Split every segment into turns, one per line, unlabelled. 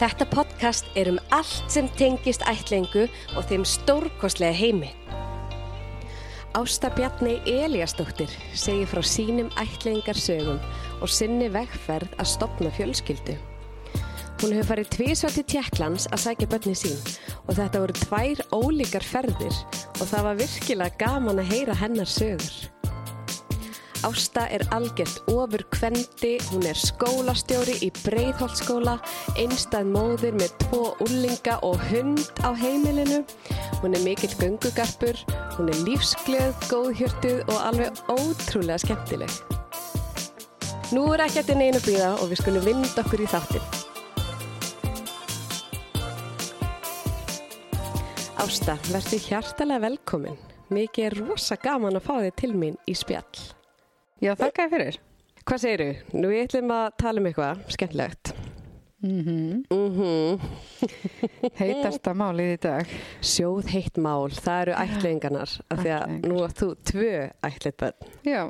Þetta podcast er um allt sem tengist ætlingu og þeim stórkostlega heimi. Ásta Bjarni Eliasdóttir segir frá sínum ætlingarsögum og sinni vegferð að stopna fjölskyldu. Hún hefur farið tvísvar til Tjekklands að sækja börni sín og þetta voru tvær ólíkar ferðir og það var virkilega gaman að heyra hennar sögur. Ásta er algjört ofur kvendi, hún er skólastjóri í Breiðholtskóla, einstæð móðir með tvo úrlinga og hund á heimilinu. Hún er mikill göngugarpur, hún er lífsglöð, góðhjörtuð og alveg ótrúlega skemmtileg. Nú er ekki eftir neina býða og við skulum vinda okkur í þáttinn. Ásta, verður hjartalega velkomin. Mikið er rosa gaman að fá þig til mín í spjall.
Já, þakka þér fyrir.
Hvað segiru? Nú við ætlum að tala um eitthvað skemmtilegt. Mhm.
Mhm. Heitasta málið í dag.
Sjóð heitt mál, það eru ættleiðingarnar af því að
Ættleiðingar.
nú að þú tvö ættleitt bönn,
Já.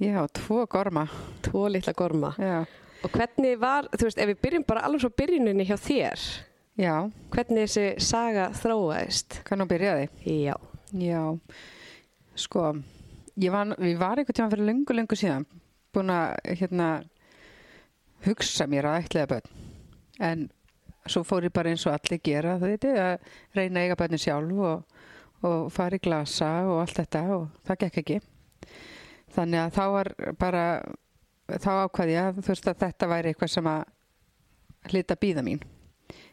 Já, tvo gorma.
tvo litla gorma.
Já.
Og hvernig var, þú veist, ef við byrjum bara alveg svo byrjuninni hjá þér,
Já,
hvernig þessi saga þróaðist?
kannu byrjaði.
Já.
Já. Sko, ég var, ég var einhvern tíma fyrir lungu, lungu síðan búin að hérna, hugsa mér að ætlaða börn. En svo fór ég bara eins og allir gera, þú veitir, að reyna að eiga börnin sjálf og, og fara í glasa og allt þetta og það gekk ekki. Þannig að þá var bara, þá ákvaði ég að þú veist að þetta væri eitthvað sem að hlita býða mín.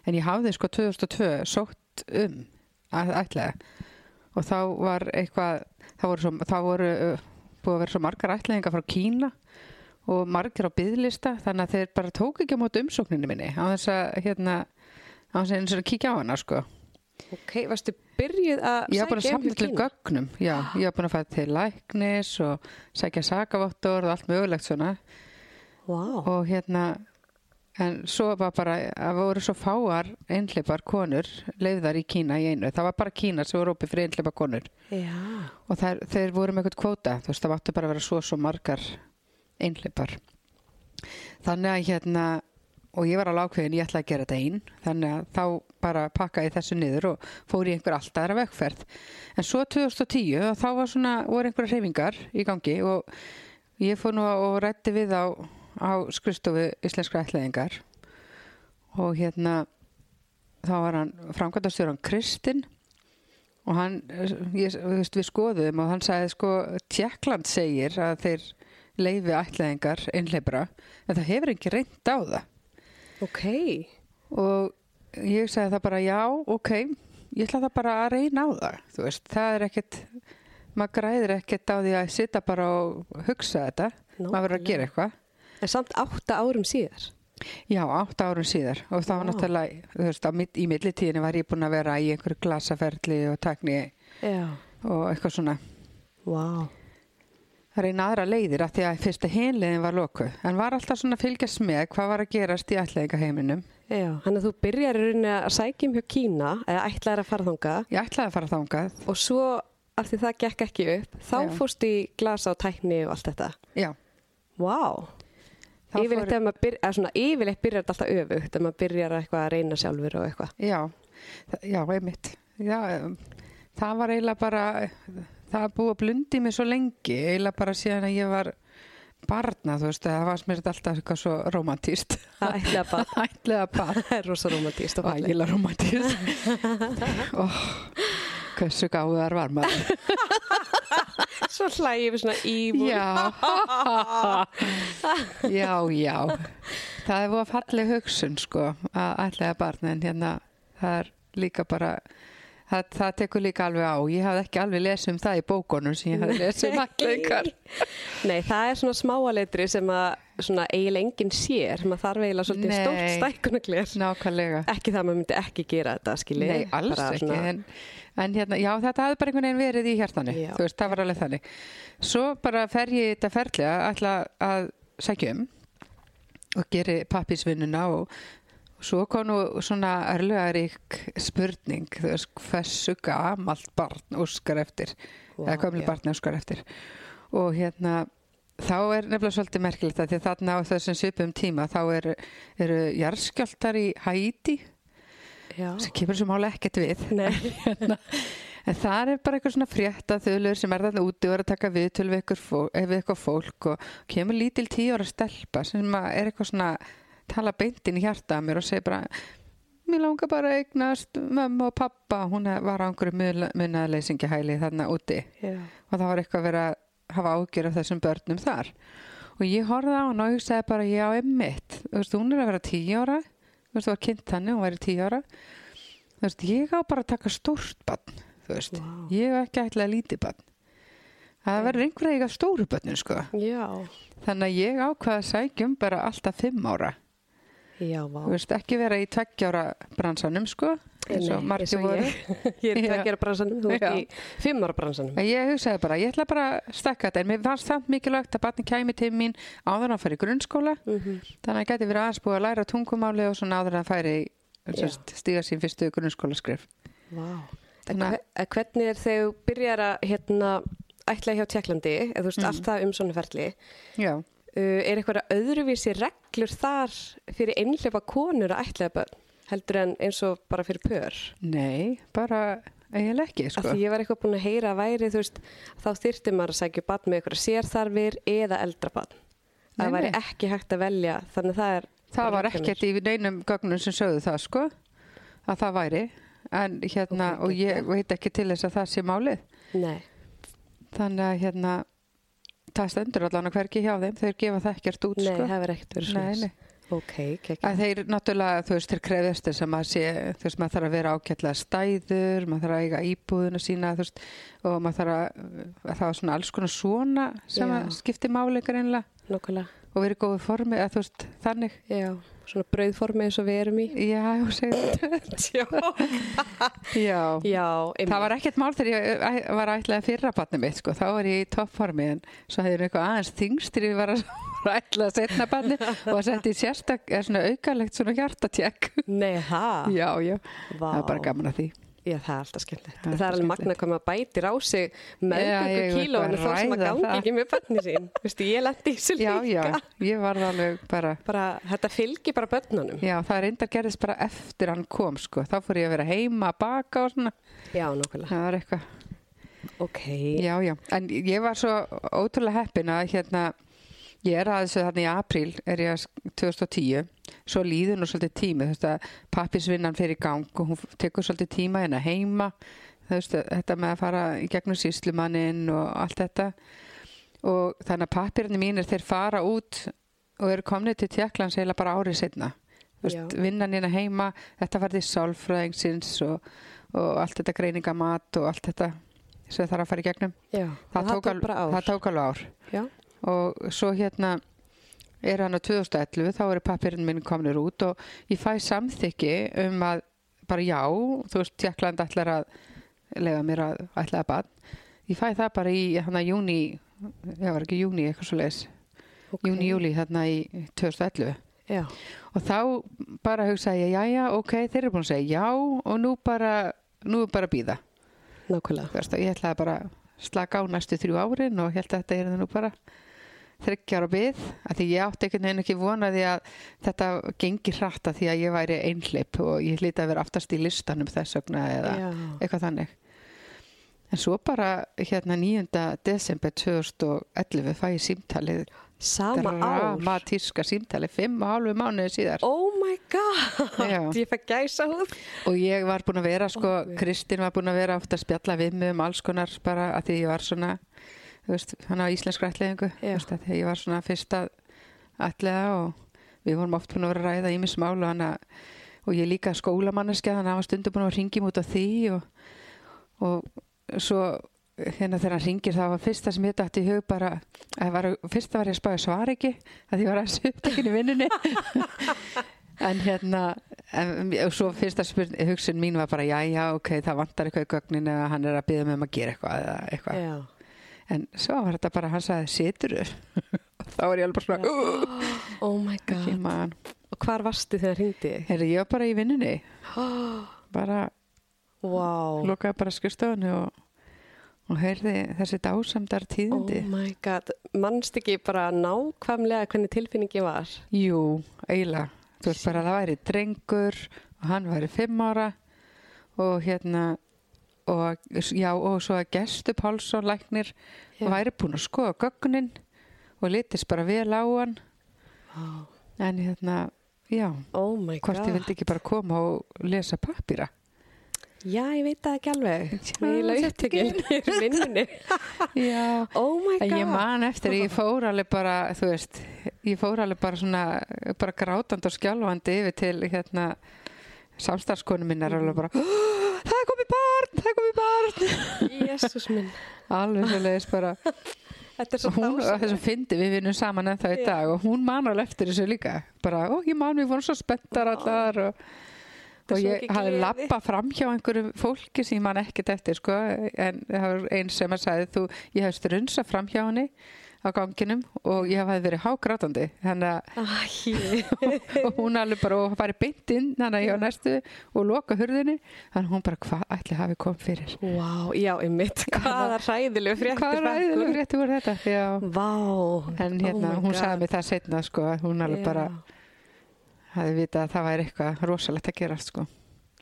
En ég hafði sko 2002 sótt um að ætlaða og þá var eitthvað þá voru, svo, þá voru uh, búið að vera svo margar ætlaðingar frá Kína og margir á byðlista þannig að þeir bara tók ekki á mót umsókninu minni á þess að hérna á þess að eins og að kíkja á hana sko
Ok, varstu byrjuð að
ég var búin að
sækja um
samla
hjá
til
Kína?
gögnum já, ég var búin að fara til læknis og sækja sakavottor og allt mögulegt svona
Vá,
og hérna en svo var bara að voru svo fáar einhleipar konur leiðar í Kína í einu, það var bara Kína sem voru opið fyrir einhleipar konur
já,
og þær, þeir voru með eitthvað kvóta þú veist, það áttu bara að vera svo svo margar einhleipar þannig að hérna og ég var alveg ákveðin, ég ætla að gera þetta einn þannig að þá bara pakkaði ég þessu niður og fór í einhver alltaf aðra vegferð en svo 2010, þá var svona voru einhverja hreyfingar í gangi og ég fór nú og rætti við á, á skrifstofu íslenskra ætlaðingar og hérna þá var hann framkvæmtastjóran Kristinn og hann, eh, ég, þú veist, við skoðum og hann sagði sko, Tjekkland segir að þeir leifi ætlaðingar innleipra, en það hefur ekki reynd á það
ok,
og ég sagði það bara já, ok, ég ætla það bara að reyna á það, þú veist, það er ekkit maður græðir ekkit á því að sita bara og hugsa þetta maður verður að gera eitthvað
en samt átta árum síðar.
Já, átta árum síðar og það var
Vá.
náttúrulega, þú veist, á, mitt- í millitíðinni var ég búin að vera í einhverju glasaferli og tækni
Já.
og eitthvað svona
Vá,
að reyna aðra leiðir af því að fyrsta hinleiðin var loku en var alltaf svona að fylgjast með hvað var að gerast í ætlaðingaheiminum
já, hann að þú byrjar í rauninni að sækja um hjá Kína, eða ætlaðir að fara þangað.
ég ætlaði að fara þangað
Og svo, af því það gekk ekki upp, þá
Já.
fórst í glasa og tækni og allt þetta.
já,
Vá! Wow.
þá
Yfirleitt, fór... maður byrja, eða svona, yfirleitt byrjar þetta alltaf öfugt, ef maður byrjar eitthvað að reyna sjálfur og eitthvað.
já, þa- já, einmitt já, um, það var eiginlega bara það var búið að blundi mig svo lengi eiginlega bara síðan að ég var barna, þú veist, það var smirt alltaf eitthvað svo romantíst
Það ætla bara,
ætlaði að bara
það er rosa romantíst og fallið.
ægilega romantíst oh, hversu gáðar var maður
Svo hlægjum við svona ívúr.
Já, já, já. Það er búið að falli hugsun sko að ætlaða barni en hérna það er líka bara, það, það tekur líka alveg á. Ég hafði ekki alveg lesið um það í bókunum sem ég hafði lesið um allingar.
Nei, það er svona smáaletri sem að svona eiginlega enginn sér, maður þarf eiginlega svolítið
Nei.
stórt stækunaglir.
Nákvæmlega.
Ekki það að maður myndi ekki gera þetta, skiljið.
Nei, alls ekki. En, en hérna, já, þetta hafði bara einhvern veginn verið í hjartanu.
Já.
Þú veist, það var alveg þannig. Svo bara fer ég í þetta ferli að ætla að sækja um og geri pappisvinnuna og, og svo kom nú svona örlugarík spurning, þú veist, hversu gamalt barn úskar eftir,
Vá,
eða gamli
já.
barni úskar eftir. Og hérna, þá er nefnilega svolítið merkilegt að því að þarna á þessum svipum tíma þá er, eru jarðskjáltar í Haiti
Já.
sem kemur sem mála ekkert við
Nei.
en það er bara eitthvað svona frétta þölur sem er þarna úti og er að taka við til við ykkur, fó- eh, við ykkur fólk og kemur lítil tíu ára stelpa sem að er eitthvað svona tala beintin í hjarta að mér og segir bara mér langar bara að eignast mömmu og pappa hún var á einhverju munaleysingahæli þarna úti
Já.
og það var eitthvað að vera að hafa ágjör af þessum börnum þar og ég horfði á hann og ég sagði bara já, emmitt, þú veist, hún er að vera tíu ára þú veist, það var kynnt þannig, hún væri tíu ára þú veist, ég á bara að taka stórt barn, þú veist
Vá.
ég á ekki ætla að lítið barn það verður einhver að eiga stóru börnin, sko
Já.
þannig að ég ákvaða að sækjum bara alltaf fimm ára,
Já, vá.
þú veist, ekki vera í tveggjára bransanum, sko eins og
Nei,
margir
eins og
voru
ég, ég er
Já.
ekki að gera bransanum, þú ert
Já.
í fimmara bransanum
En ég hugsaði bara, ég ætla bara að stakka þetta en mér fannst samt mikilvægt að barni kæmi til mín áður en að færi grunnskóla
Mhm.
þannig að ég gæti verið aðeins búið að læra tungumáli og svona áður en að færi
Já.
stíga sín fyrstu grunnskólaskrif
Vá.
Þannig
Þannig
að-
að hvernig er þegar þú byrjar að hérna, ætla hjá Tjekklandi, eða
Mhm.
þú veist allt það um svona ferli,
Já,
uh, er eitthvað öðruvísi reglur þar fyrir einhlefa konur að ætla bönn heldur en eins og bara fyrir pör?
nei, bara eiginlega ekki
Af
sko.
því ég var eitthvað búin að heyra að væri, þú veist, þá þyrfti maður að sækja barn með eitthvað sérþarfir eða eldra barn. Það
Nei,
væri
nei.
ekki hægt að velja, þannig það er...
Það var ekkert í neinum gögnum sem sögðu það sko að það væri en hérna
Ok,
og ég veit ekki til þess að það sé málið
Nei,
þannig að hérna það stendur allan að hvergi hjá þeim þeir gefa það ekkert út
nei,
sko
það var ekkert verið
Nei,
svona.
nei.
Ok, kekk.
Að þeir náttúrulega, þú veist, þeir krefjast þess að maður sé, þú veist, maður þarf að vera ágætlega stæður, maður þarf að eiga íbúðuna sína, þú veist, og maður þarf að, að það var svona alls konar svona sem
Já.
að skipti máleikar einlega
Nákvæmlega,
og verið í góðu formi, að þú veist, þannig,
já, svona brauðformi eins og við erum í.
já, þú segir,
Já,
já,
já einmitt.
það var ekkert mál þegar ég æ, var ætlaði fyrra barnið mitt, sko, þá var ég í toppformi, en svo hefði ég eitthvað aðeins þingst þegar ég var að ætlaði setna barnið og setti í sérstak, eða svona aukalegt svona hjartatjekk,
Nei, það?
já, já,
Ah. Vá.
það var bara gaman að því.
Já, það er alltaf skemmtilegt. Það,
Það er
er alveg
alltaf
magna hvað maður bætir á sig
Já, ég
meðgöngu
vil
kílóinu
bara
þó sem að
ræða
gangi
það.
ekki með bönni sín. Vistu, ég lendi í þessu
já,
líka.
já, ég var alveg bara
Bara, þetta fylgir bara bönnunum.
já, það reyndar gerðist bara eftir hann kom sko, þá fór ég að vera heima að baka og svona,
Já, nákvæmlega.
það var eitthvað
Ok.
já, já, en ég var svo ótrúlega heppin að hérna ég er aðeins þarna í apríl er ég að sk- 2010, svo líður nú svolítið tími, þú veist að pappisvinnan fer í gang og hún f- tekur svolítið tíma hérna heima, þú veist þetta með að fara í gegnum síslumanninn og allt þetta og þannig að pappirinu mínir þeir fara út og eru komnið til Tjekklands heila bara árið setna veist,
Já.
vinnan hérna heima, þetta var því sálfræðingsins og, og allt þetta greiningamat og allt þetta sem þarf að fara í gegnum
Já,
það, tók,
tók
al,
bara ár.
það tók alveg ár
Já,
og svo hérna er hann á 2011 þá eru pappirinn minn komnir út og ég fæ samþykki um að bara já, þú veist, Tjekkland ætlar að lega mér að ætla að bann ég fæ það bara í hann að júni ég var ekki júni, eitthvað svo leis
ok.
júni, júli, þarna hérna, í 2011
Já,
og þá bara hugsaði ég, já, já, ok þeir eru búin að segja já og nú bara nú er bara að býða
nákvæmlega.
Þú veist, og ég ætlaði bara að slaka á næstu þrjú árin og held að þetta er nú bara þryggjar og byð að því ég átti einhvern veginn ekki vonaði að þetta gengi hratt að því að ég væri einhleip og ég hlýta að vera aftast í listanum þess vegna eða
Já.
eitthvað þannig en svo bara hérna 9. desember 2011 fæ ég símtalið
Sama ár.
dramatíska símtalið fimm og hálfu mánuði síðar
Oh my god,
Já.
ég fæ gæsa húð.
og ég var búin að vera sko, Kristín var búin að vera oft að spjalla við mig um alls konar bara að því ég var svona þú veist, hann á íslensk rættleðingu
Já.
þegar ég var svona fyrst að allega og við vorum oft búin að vera að ræða í mig smál og hann að og ég er líka skólamanneskja þannig að hann var stundum búin að ringi mút á því og, og svo hérna þegar hann ringir þá var fyrsta sem ég dætt í hug bara að var, fyrsta var ég að spáði svar ekki að því ég var að söptekin í vinnunni en hérna en, og svo fyrsta spurn, hugsun mín var bara já já ok það vantar eitthvað í gögnin eða hann er að byggja mig um að gera eitthvað, eða eitthvað.
Já.
en svo var þetta bara hann sagði situr og þá var ég alveg bara svona "Ugh",
Oh my
ekki
god.
maður
Og hvar varstu þegar hringdi þig?
Heyrðu, ég var bara í vinnunni
Oh,
bara
wow.
lokaði bara skrifstofunni og, og heyrði þessi dásamdar tíðindi.
Oh my god, mannst ekki bara nákvæmlega hvernig tilfinningi var?
Jú, eiginlega. Þú veist bara að það væri drengur og hann væri fimm ára og hérna og já og svo að gestu Pálsson læknir
Já.
væri búin að skoða gögnin og litist bara vel á hann
Oh,
en hérna, já,
my god.
hvort ég vildi ekki bara koma og lesa pappýra.
Já, ég veit það ekki alveg.
Já,
Ég er
þetta
upptökin í vinnunni.
Já,
Oh my
En
god.
ég man eftir að ég fór alveg bara, þú veist, ég fór alveg bara svona, bara grátandi og skjálfandi yfir til hérna samstarfskonu minnar alveg bara, "Hó, það er komið barn, það er komið barn.
Jésús minn.
Alveg svo leiðis bara,
Þetta er
og
svo
hún og
dásamlega.
þessum fyndi við vinnum saman en það í
Já.
dag og hún man alveg eftir þessu líka. Bara, ó, ég man, við vorum svo spenntar allar og,
Þetta er svo
og ég
mikið
hafði
gleði.
lappa fram hjá einhverju fólki sem ég man ekkert eftir, sko, en það var eins sem að sagði, þú, ég hafði strunsa fram hjá henni á ganginum og ég hafði verið hágrátandi þannig
Æ,
að og hún alveg bara og farið beint inn þannig að ég á næstu og loka hurðinni þannig að hún bara hvað ætli hafi kom fyrir
Vá, já, einmitt. Hvaða ræðilegu fréttir.
hvað ræðilega frétti voru þetta já.
Vá.
en hérna,
Oh my
hún
God.
sagði mig það setna sko, að hún
Já.
alveg bara hafði vitað að það væri eitthvað rosalegt að gera sko.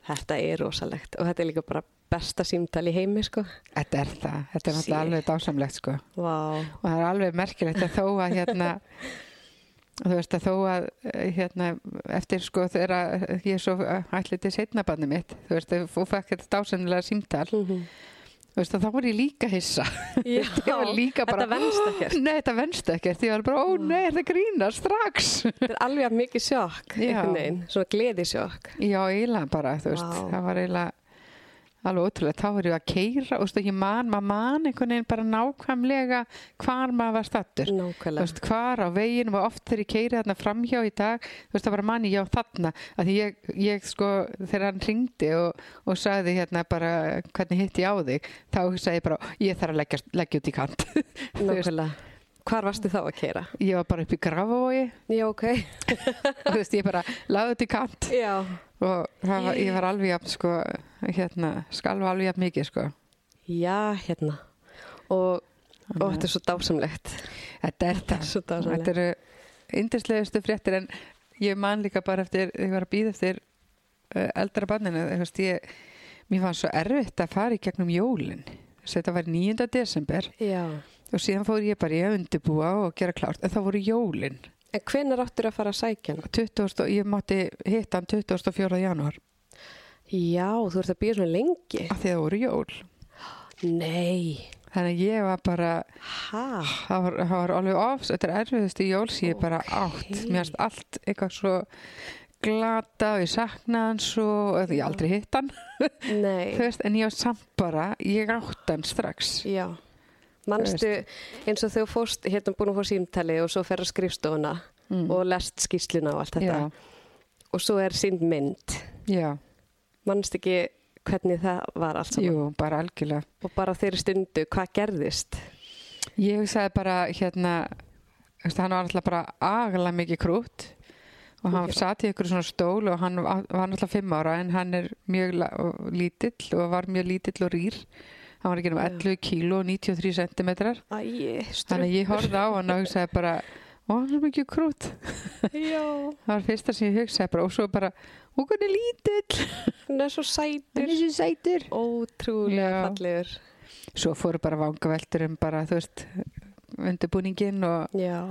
Þetta er rosalegt og þetta er líka bara besta símtal í heimi, sko.
þetta er það, þetta er náttúrulega
Sí.
alveg dásamlegt sko.
Vá.
og það er alveg merkilegt að þó að hérna þú veist að þó að eh, hérna eftir sko þegar að ég er svo ætlið til setnabanni mitt þú veist að þú fækk þetta dásennilega símtal þú veist að þá var ég líka hissa
Já,
Ég var líka bara,
þetta venst ekkert.
nei þetta venst ekkert ég var bara ó nei þetta grínar strax
Þetta er alveg jafn mikið sjokk,
Já.
einhvern veginn, svona gleðisjokk.
já eiginlega bara þú veist
Vá.
það var eiginlega alveg ótrúlega þá var ég að keira og þú veist að ég man maður man einhvern veginn bara nákvæmlega hvar maður var stattur Þú
Nákvæmlega.
veist, hvar á veginn og oft þegar ég keiri þarna framhjá í dag þú veist, það bara manni ég á þarna að því ég, ég sko, þegar hann ringdi og, og sagði hérna bara hvernig hitti ég á þig, þá sagði ég bara ég þarf að leggja, leggja út í kant þú veist.
Nákvæmlega. Hvar varstu þá að keira?
ég var bara upp í grafavogi
Já, ok.
og þú veist, ég bara lagði út í kant
Já.
og það var, ég var alveg jafn, sko, hérna, skalva alveg jafn mikið, sko
Já, hérna. Og, og þetta er svo dásamlegt.
Þetta er
er
það.
svo dásamlegt.
Þetta eru yndislegustu fréttir en ég man líka bara eftir, ég var að býða eftir uh, eldra banninu, þú veist, ég, mér fannst svo erfitt að fara í gegnum jólin. Þess að Þetta var 9. desember
Já.
og síðan fór ég bara í að undirbúa og gera klárt. En það voru jólin.
En hvenær áttur að fara að sækja hana?
20, og- ég mátti hitta hann 24. janúar
Já, þú ert að býja svona lengi.
af því að það voru jól.
Ah, Nei.
Þannig að ég var bara,
Hæ?
Ah, það var, það var alveg ofs, þetta er erfiðustu jól sem ég bara
Ókei.
átt. Mér finnst allt eitthvað svo glata og ég sakna hans og eða ég aldrei hitt hann,
Nei.
þú veist, en ég var samt bara, ég átt hann strax.
Já. Manstu eins og þau fórst, hérna búin að fá símtali og svo fer að skrifstofuna og lest skýsluna og allt þetta. Og svo er sínd mynd.
Já, já,
Manstu ekki hvernig það var allt saman?
jú, bara algjörlega.
Og bara þeirri stundu, hvað gerðist?
Ég hugsaði bara, hérna, þú veist, hann var alltaf bara agalega mikið krútt og hann
Já.
sat í ykkur svona stól og hann var alltaf fimm ára en hann er mjög la- og lítill og var mjög lítill og rýr. Hann var ekki um
Já.
11 kíló og 93 sentimetrar.
Æ, strumpur.
Þannig að ég horfði á hann og hugsaði bara, ó, hann er mikið krút.
Já,
Það var fyrsta sem ég hugsaði bara, og svo bara, ó, hann er lítill,
hún er svo sætur.
hann er svo sætur.
Ótrúlega
Já.
fallegur.
Svo fóru bara vangaveltur um bara, þú veist, undirbúningin og,
Já.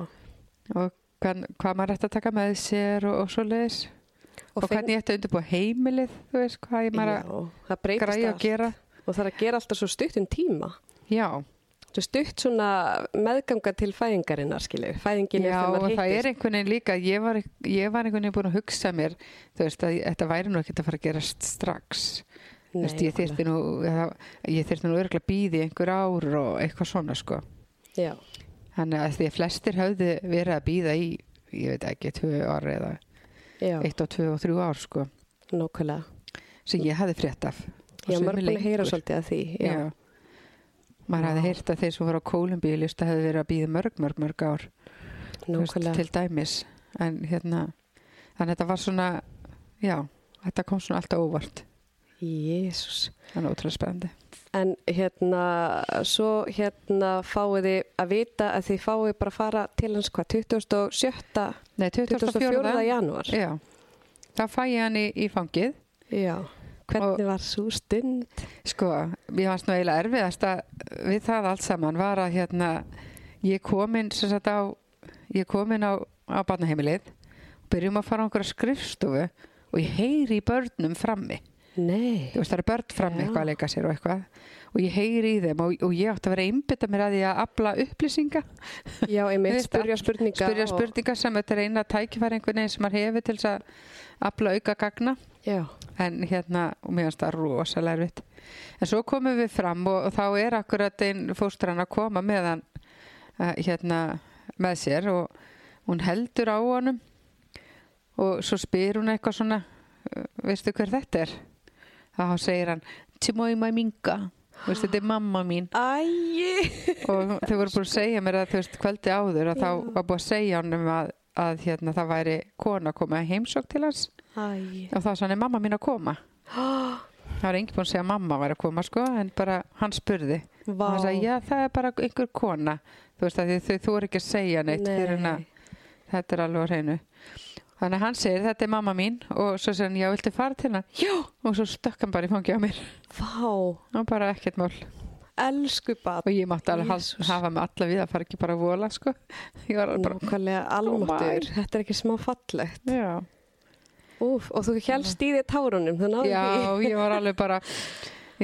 og hvað, hvað maður ætti að taka með sér og, og svo leiðis. Og, hvernig ég ætti að undirbúa heimilið, þú veist, hvað ég maður að
Já, það breytist
græja að
allt.
gera.
Og það er að gera alltaf svo stutt um tíma.
Já,
Svo stutt svona meðganga til fæðingarinnar, skilju. Fæðingin er
já og
þegar
það
maður
er
hittir.
einhvern veginn líka, ég var, ég var einhvern veginn búin að hugsa mér, þú veist, að ég- þetta væri nú ekkert að fara að gerast strax. Þú veist, ég þyrfti nú, það- ég þyrfti nú örgulega býði einhver ár og eitthvað svona sko.
Já,
Þannig að því að flestir höfðu verið að býða í, ég veit ekki, tvö ár eða
já,
eitt og tvö og þrjú ár sko,
nákvæmlega.
sem ég hafði frétt af.
Já,
Og sumir
maður er búin að heyra
lengur.
svolítið af því. Já,
Já. Maður hafði heyrt að þeir sem voru á Kólumbíulista hefðu verið að býða mörg, mörg, mörg ár. þú veist,
nákvæmlega.
til dæmis. En hérna, þannig að þetta var svona, já, þetta kom svona alltaf óvart.
Jésús.
Það er ótrúlega spennandi.
En hérna, svo hérna fáið þið að vita að þið fáið bara að fara til hans hvað, 27.
Nei,
24.
24.
janúar.
Já. Það fæ ég hann í, í fangið.
Já. Hvernig var svo stund?
Sko, mér fannst nú eiginlega erfiðast að við það allt saman var að hérna, ég komin sem sagt á, ég komin á, á barnaheimilið og byrjum að fara á einhverja skrifstofu og ég heyri í börnum frammi.
Nei.
Þú veist, það eru börn frammi
Já.
eitthvað að leika sér og eitthvað og ég heyri í þeim og, og ég átti að vera að einbytta mér að því að afla upplýsinga,
Já, einmitt,
Þú veist,
spurja spurninga.
spyrja spurninga sem þetta er eina tækifæri einhvern veginn sem maður hefur til þess að afla auka gagna
Og, já.
en hérna, og mér finnst það rosalega erfitt en svo komum við fram og, og þá er akkurat einn fóstran að koma með hann uh, hérna með sér og hún heldur á honum og svo spyr hún eitthvað svona eh, veistu hver þetta er þá segir hann Timói Mæminga veistu þetta er mamma mín
Æi.
og þau voru búin að segja mér að þú veist kvöldi áður að þá
Já.
var búin að segja honum að, að hérna, það væri kona að koma heimsók til hans
Æi.
og þá sann er mamma mín að koma Það var enginn búinn að segja að mamma væri að koma sko, en bara hann spurði.
Vá.
Og hann sagði, já það er bara einhver kona. Þú veist að þau, þú eru ekki að segja neitt fyrir hann að þetta er alveg á hreinu. Þannig að hann segir, þetta er mamma mín og svo segir hann, já viltu fara til hann? Já! Og svo stökk hann bara í fangi á mér
Vá.
og bara ekkert mál.
Elsku
Og
bat.
ég mátti alveg hal-
Jesús.
hafa með alla við að fara ekki bara að vola sko. Ég var alveg bara,
Nákvæmlega almáttur. Þetta er ekki smá fallegt.
já.
Úf, og þú helst í því tárunum, þú náðu
Já,
því.
ég var alveg bara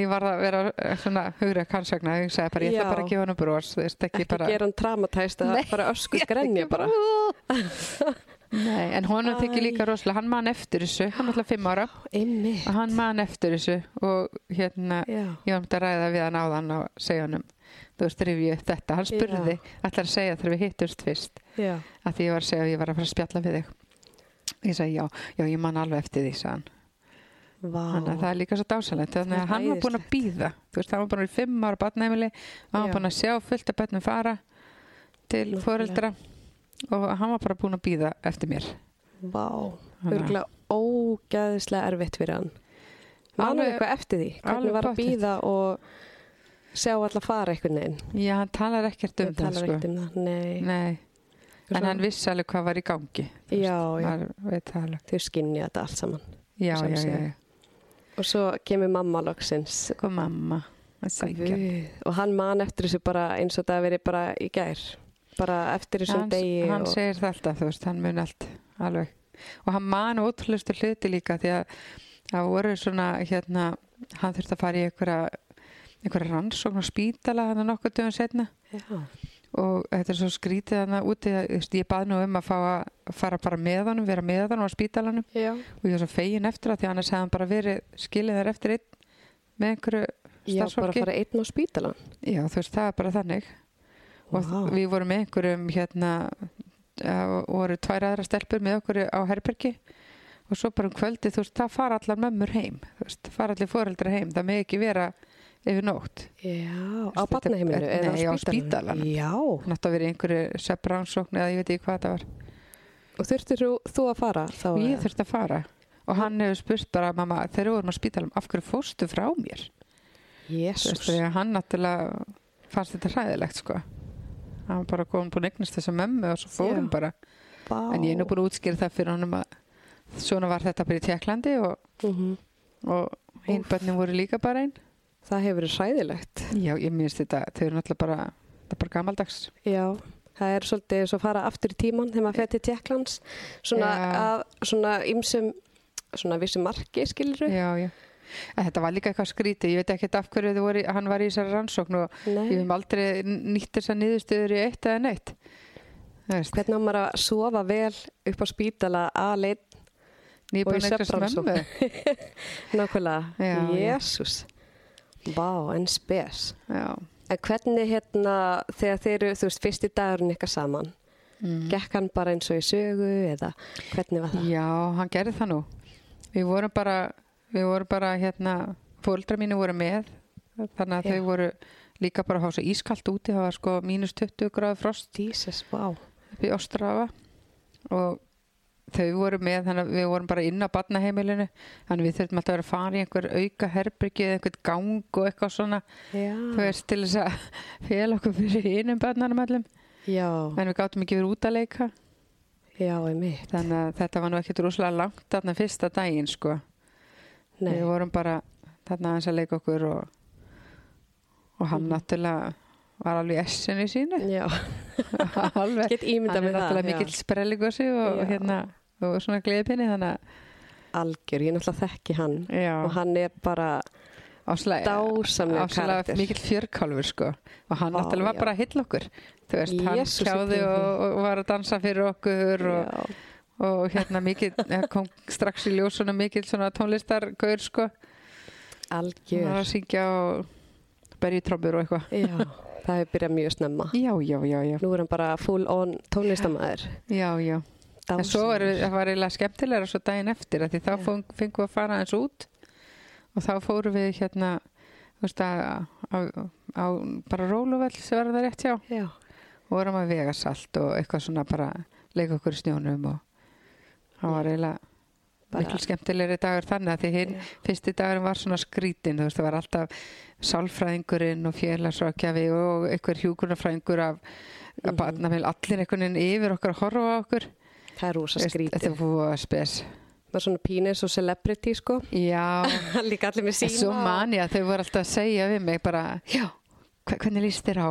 ég var að vera eh, svona hugrið kannsagna, ég sagði bara, ég ætla
Já.
bara að gefa hann bros, þú veist, ekki,
Ekki
bara
gera hann traumatæst að
Nei.
bara ösku grenja bara.
Nei, en honum þykir
Æ.
líka rosalega, hann man eftir þessu, hann er alltaf fimm ára
Einmitt.
og hann man eftir þessu og hérna,
Já.
ég var um þetta að ræða við hann áðan og segja honum, þú veist, rifja upp þetta, hann spurði, ætlar að segja þegar við hittumst fyrst,
Já.
að því ég var að segja að ég var að fara að spjalla við þig. Ég sagði já, já, ég man alveg eftir því, sagði hann.
Vá.
Þannig að það er líka svo dásalegt, þannig
Það
að
er
hann var búinn að býða, þú veist, hann var búinn að vera í fimm ára barnæmili og
Já.
hann var búinn að sjá fullt af börnum fara til
Nákvæmlega.
foreldra og hann var bara búinn að býða eftir mér.
Vá.
Þannig að-
Örgulega ógæðislega erfitt fyrir hann. Manu
Alveg-
eitthvað eftir því. Hvernig
alveg
var að
pottþétt.
býða og sjá alla fara einhvern veginn.
Já, hann talar ekkert um
Hann
það,
talar
sko.
ekkert um það. Nei.
Nei, en
Svona-
hann um vissi alveg hvað var í gangi. þú
Já,
veist,
já.
maður veit það alveg.
Þau skinnja þetta allt saman.
Já,
Sem
já, já,
sé.
já.
Og svo kemur mamma loksins.
Sko mamma, að sækja.
Guð. Og hann man eftir þessu bara eins og það hafi verið bara í gær. Bara eftir þessum
Hann,
degi.
hann
og...
segir það alltaf, þú veist, hann mun allt alveg. Og hann man ótrúlustu hluti líka því að það voru svona, hérna, hann þurfti að fara í einhverja, einhverja rannsókn á spítala hann nokkuð dögum setna
Já.
og þetta er svo skrítið hann úti, að, þú veist, ég bað nú um að fá að fara bara með honum, vera með honum á spítalanum
Já.
og ég var svo fegin eftir að því annars hefði hann bara verið skilið þar eftir einn með einhverju
Já, bara að
starfsfólki
fara einn á spítalan.
já þú veist það er bara þannig og
Vá.
við vorum með einhverjum hérna eh, og voru tvær aðra stelpur með okkur á herbergi og svo bara um kvöldi þú veist það fara allar mömmur heim þú veist það fara allir foreldrar heim það með ekki vera yfir nótt
Já, á
Þetta-
barnaheiminu eða
Nei, á spítalanum.
Já,
hann átti að vera í einhverju sepprannsókn eða ég veit ekki hvað það var
Og þurftir þú, þú að fara þá?
og
eða?
ég þurfti að fara og hann hefur spurt bara mamma þegar við vorum á spítalum af hverju fórstu frá mér Þú veist,
Jesús.
því að hann náttúrulega fannst þetta hræðilegt sko hann var bara komin búin að eignast þessa mömmu og svo fórum
Já.
bara
Vá.
en ég er nú búin að útskýra það fyrir honum að svona var þetta bara í Tjekklandi og,
Mhm.
og hinn
Úff.
börnin voru líka bara einn
Það hefur verið sæðilegt.
já, ég minnst þetta, þau eru náttúrulega bara það er bara gamaldags
Já, það er svolítið eins og að fara aftur í tíman þegar maður fer til Tjekklands. Svona
Já.
að, svona ymsum, svona vissu marki skilur
já, já. En þetta var líka eitthvað skrítið, ég veit ekki af hverju þau voru, hann var í þessari rannsókn og
Nei.
ég hef aldrei nýtt þessar niðurstöður í eitt eða neitt Þú veist,
Hvernig á maður að sofa vel upp á spítala að leitt og
nýbúin
í
að eignast
svefnrannsókn.
mömmu
nákvæmlega?
Já, já.
Jésús. Vá, en spes.
já,
En hvernig hérna, þegar þeir eru, þú veist, fyrsti dagurinn ykkar saman,
mm.
gekk hann bara eins og í sögu eða hvernig var það?
Já, hann gerði það nú. Við vorum bara, við vorum bara hérna, fóldra mínu voru með, þannig að
Já.
þau voru líka bara að hafa svo ískalt úti, það var sko mínus 20 gráð frost
Jesus, vá.
upp í Óstrafa og þau voru með, þannig að við vorum bara inn á barnaheimilinu, þannig að við þurftum alltaf að vera að fara í einhver auka herbyrgi eða einhvern gang og eitthvað svona
Já.
þú veist til þess að fela okkur fyrir innum barnanum allum
Já,
en við gátum ekki verið út að leika
já, einmitt.
þannig að þetta var nú ekkit rosalega langt þarna fyrsta daginn sko
Nei,
við vorum bara þarna aðeins að leika okkur og, og
Mhm.
hann náttúrulega var alveg í essinu sínu
já,
alveg
get ímynda
hann
með
er
það.
náttúrulega mikill sprelligosi og,
um Já.
hérna, og svona gleipinni þannig
já.
að
Algjör, ég náttúrulega þekki hann. Og
já,
hann er bara
áslega,
dásamlega karakter.
mikill fjörkálfur sko og hann
Vá,
náttúrulega var
já.
bara að hylla okkur þú veist, hann
Jesús, ég
kláði
trúi
og, og var að dansa fyrir okkur og,
Já.
og hérna mikill eh, kom strax í ljós svona mikill svona tónlistargaur sko hann var
Algjör.
að syngja og berja í trombur og eitthvað
Já, það hefur byrjað mjög snemma.
já, já, já, já,
Nú er hann bara full on tónlistamæður.
já, já. en svo var,
Dásamlegur.
það var eiginlega skemmtilega svo daginn eftir af því þá
Já.
feng- fengum við að fara eins út og þá fórum við hérna þú veist að á, á bara róluvell sem var það rétt hjá
Já,
og vorum að vega salt og eitthvað svona bara leika okkur í snjónum og það var eiginlega
Bara-
miklu skemmtilegri dagur þannig að því hinn
Já.
fyrsti dagurinn var svona skrítin þú veist það var alltaf sálfræðingurinn og félagsrákjafi og einhver hjúkunarfræðingur af, af
Mhm.
barnamil allir einhvern veginn yfir okkar að horfa á okkur
það er rosa
Veist, þetta
skrítið.
er fóða spes
Það er svona pínu eins og celebrity, sko.
Já,
Líka allir með
en
síma.
svo
og-
man ég að þau voru alltaf að segja við mig bara, já, hva, hvernig líst þér á?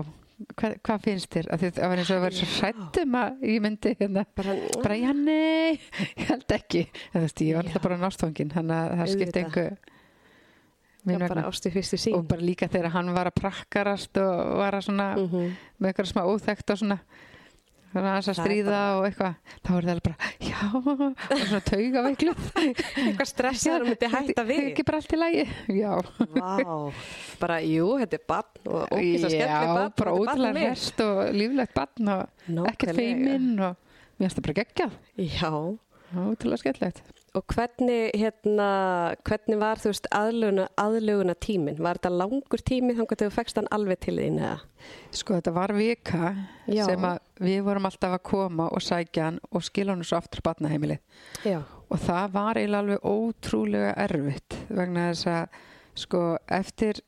Hva, hvað finnst þér? Af því Það var eins og að vera svo hrættum að ég myndi hérna.
Bara,
Bara, já, nei, ég held ekki. En þú veist, ég var
Já.
alltaf bara nástfangin, þannig að það skipti
Auðvitað.
engu.
já,
Mín
bara
vegna.
ástu fyrstu
Og
sín.
bara líka þegar hann var að prakkarast og var að svona,
Mm -hmm.
með eitthvað smá óþekkt og svona svona aðeins að
Það er
stríða og eitthvað þá voru það alveg bara, já, og svona taugaveikluð
Eitthvað stressaður og myndi hætta við.
ekki bara allt í lagi, já
Vá, bara jú, þetta er barn og ókýrst að skemmtileg
Já,
barn.
bara
þetta er barnið
ótrúlega
mitt.
hérst og líflegt barn og ekkert
Nákvæmlega.
feiminn og mér finnst það bara geggjað.
Já,
Það var Ótrúlega skemmtilegt.
og hvernig, hérna, hvernig var þú veist aðluguna, aðluguna tímin? Var þetta langur tími þannig að þú fekst hann alveg til þín eða?
Sko þetta var vika
Já.
sem að við vorum alltaf að koma og sækja hann og skila hann svo aftur á barnaheimilið.
Já,
Og það var eiginlega alveg ótrúlega erfitt vegna þess að sko eftir,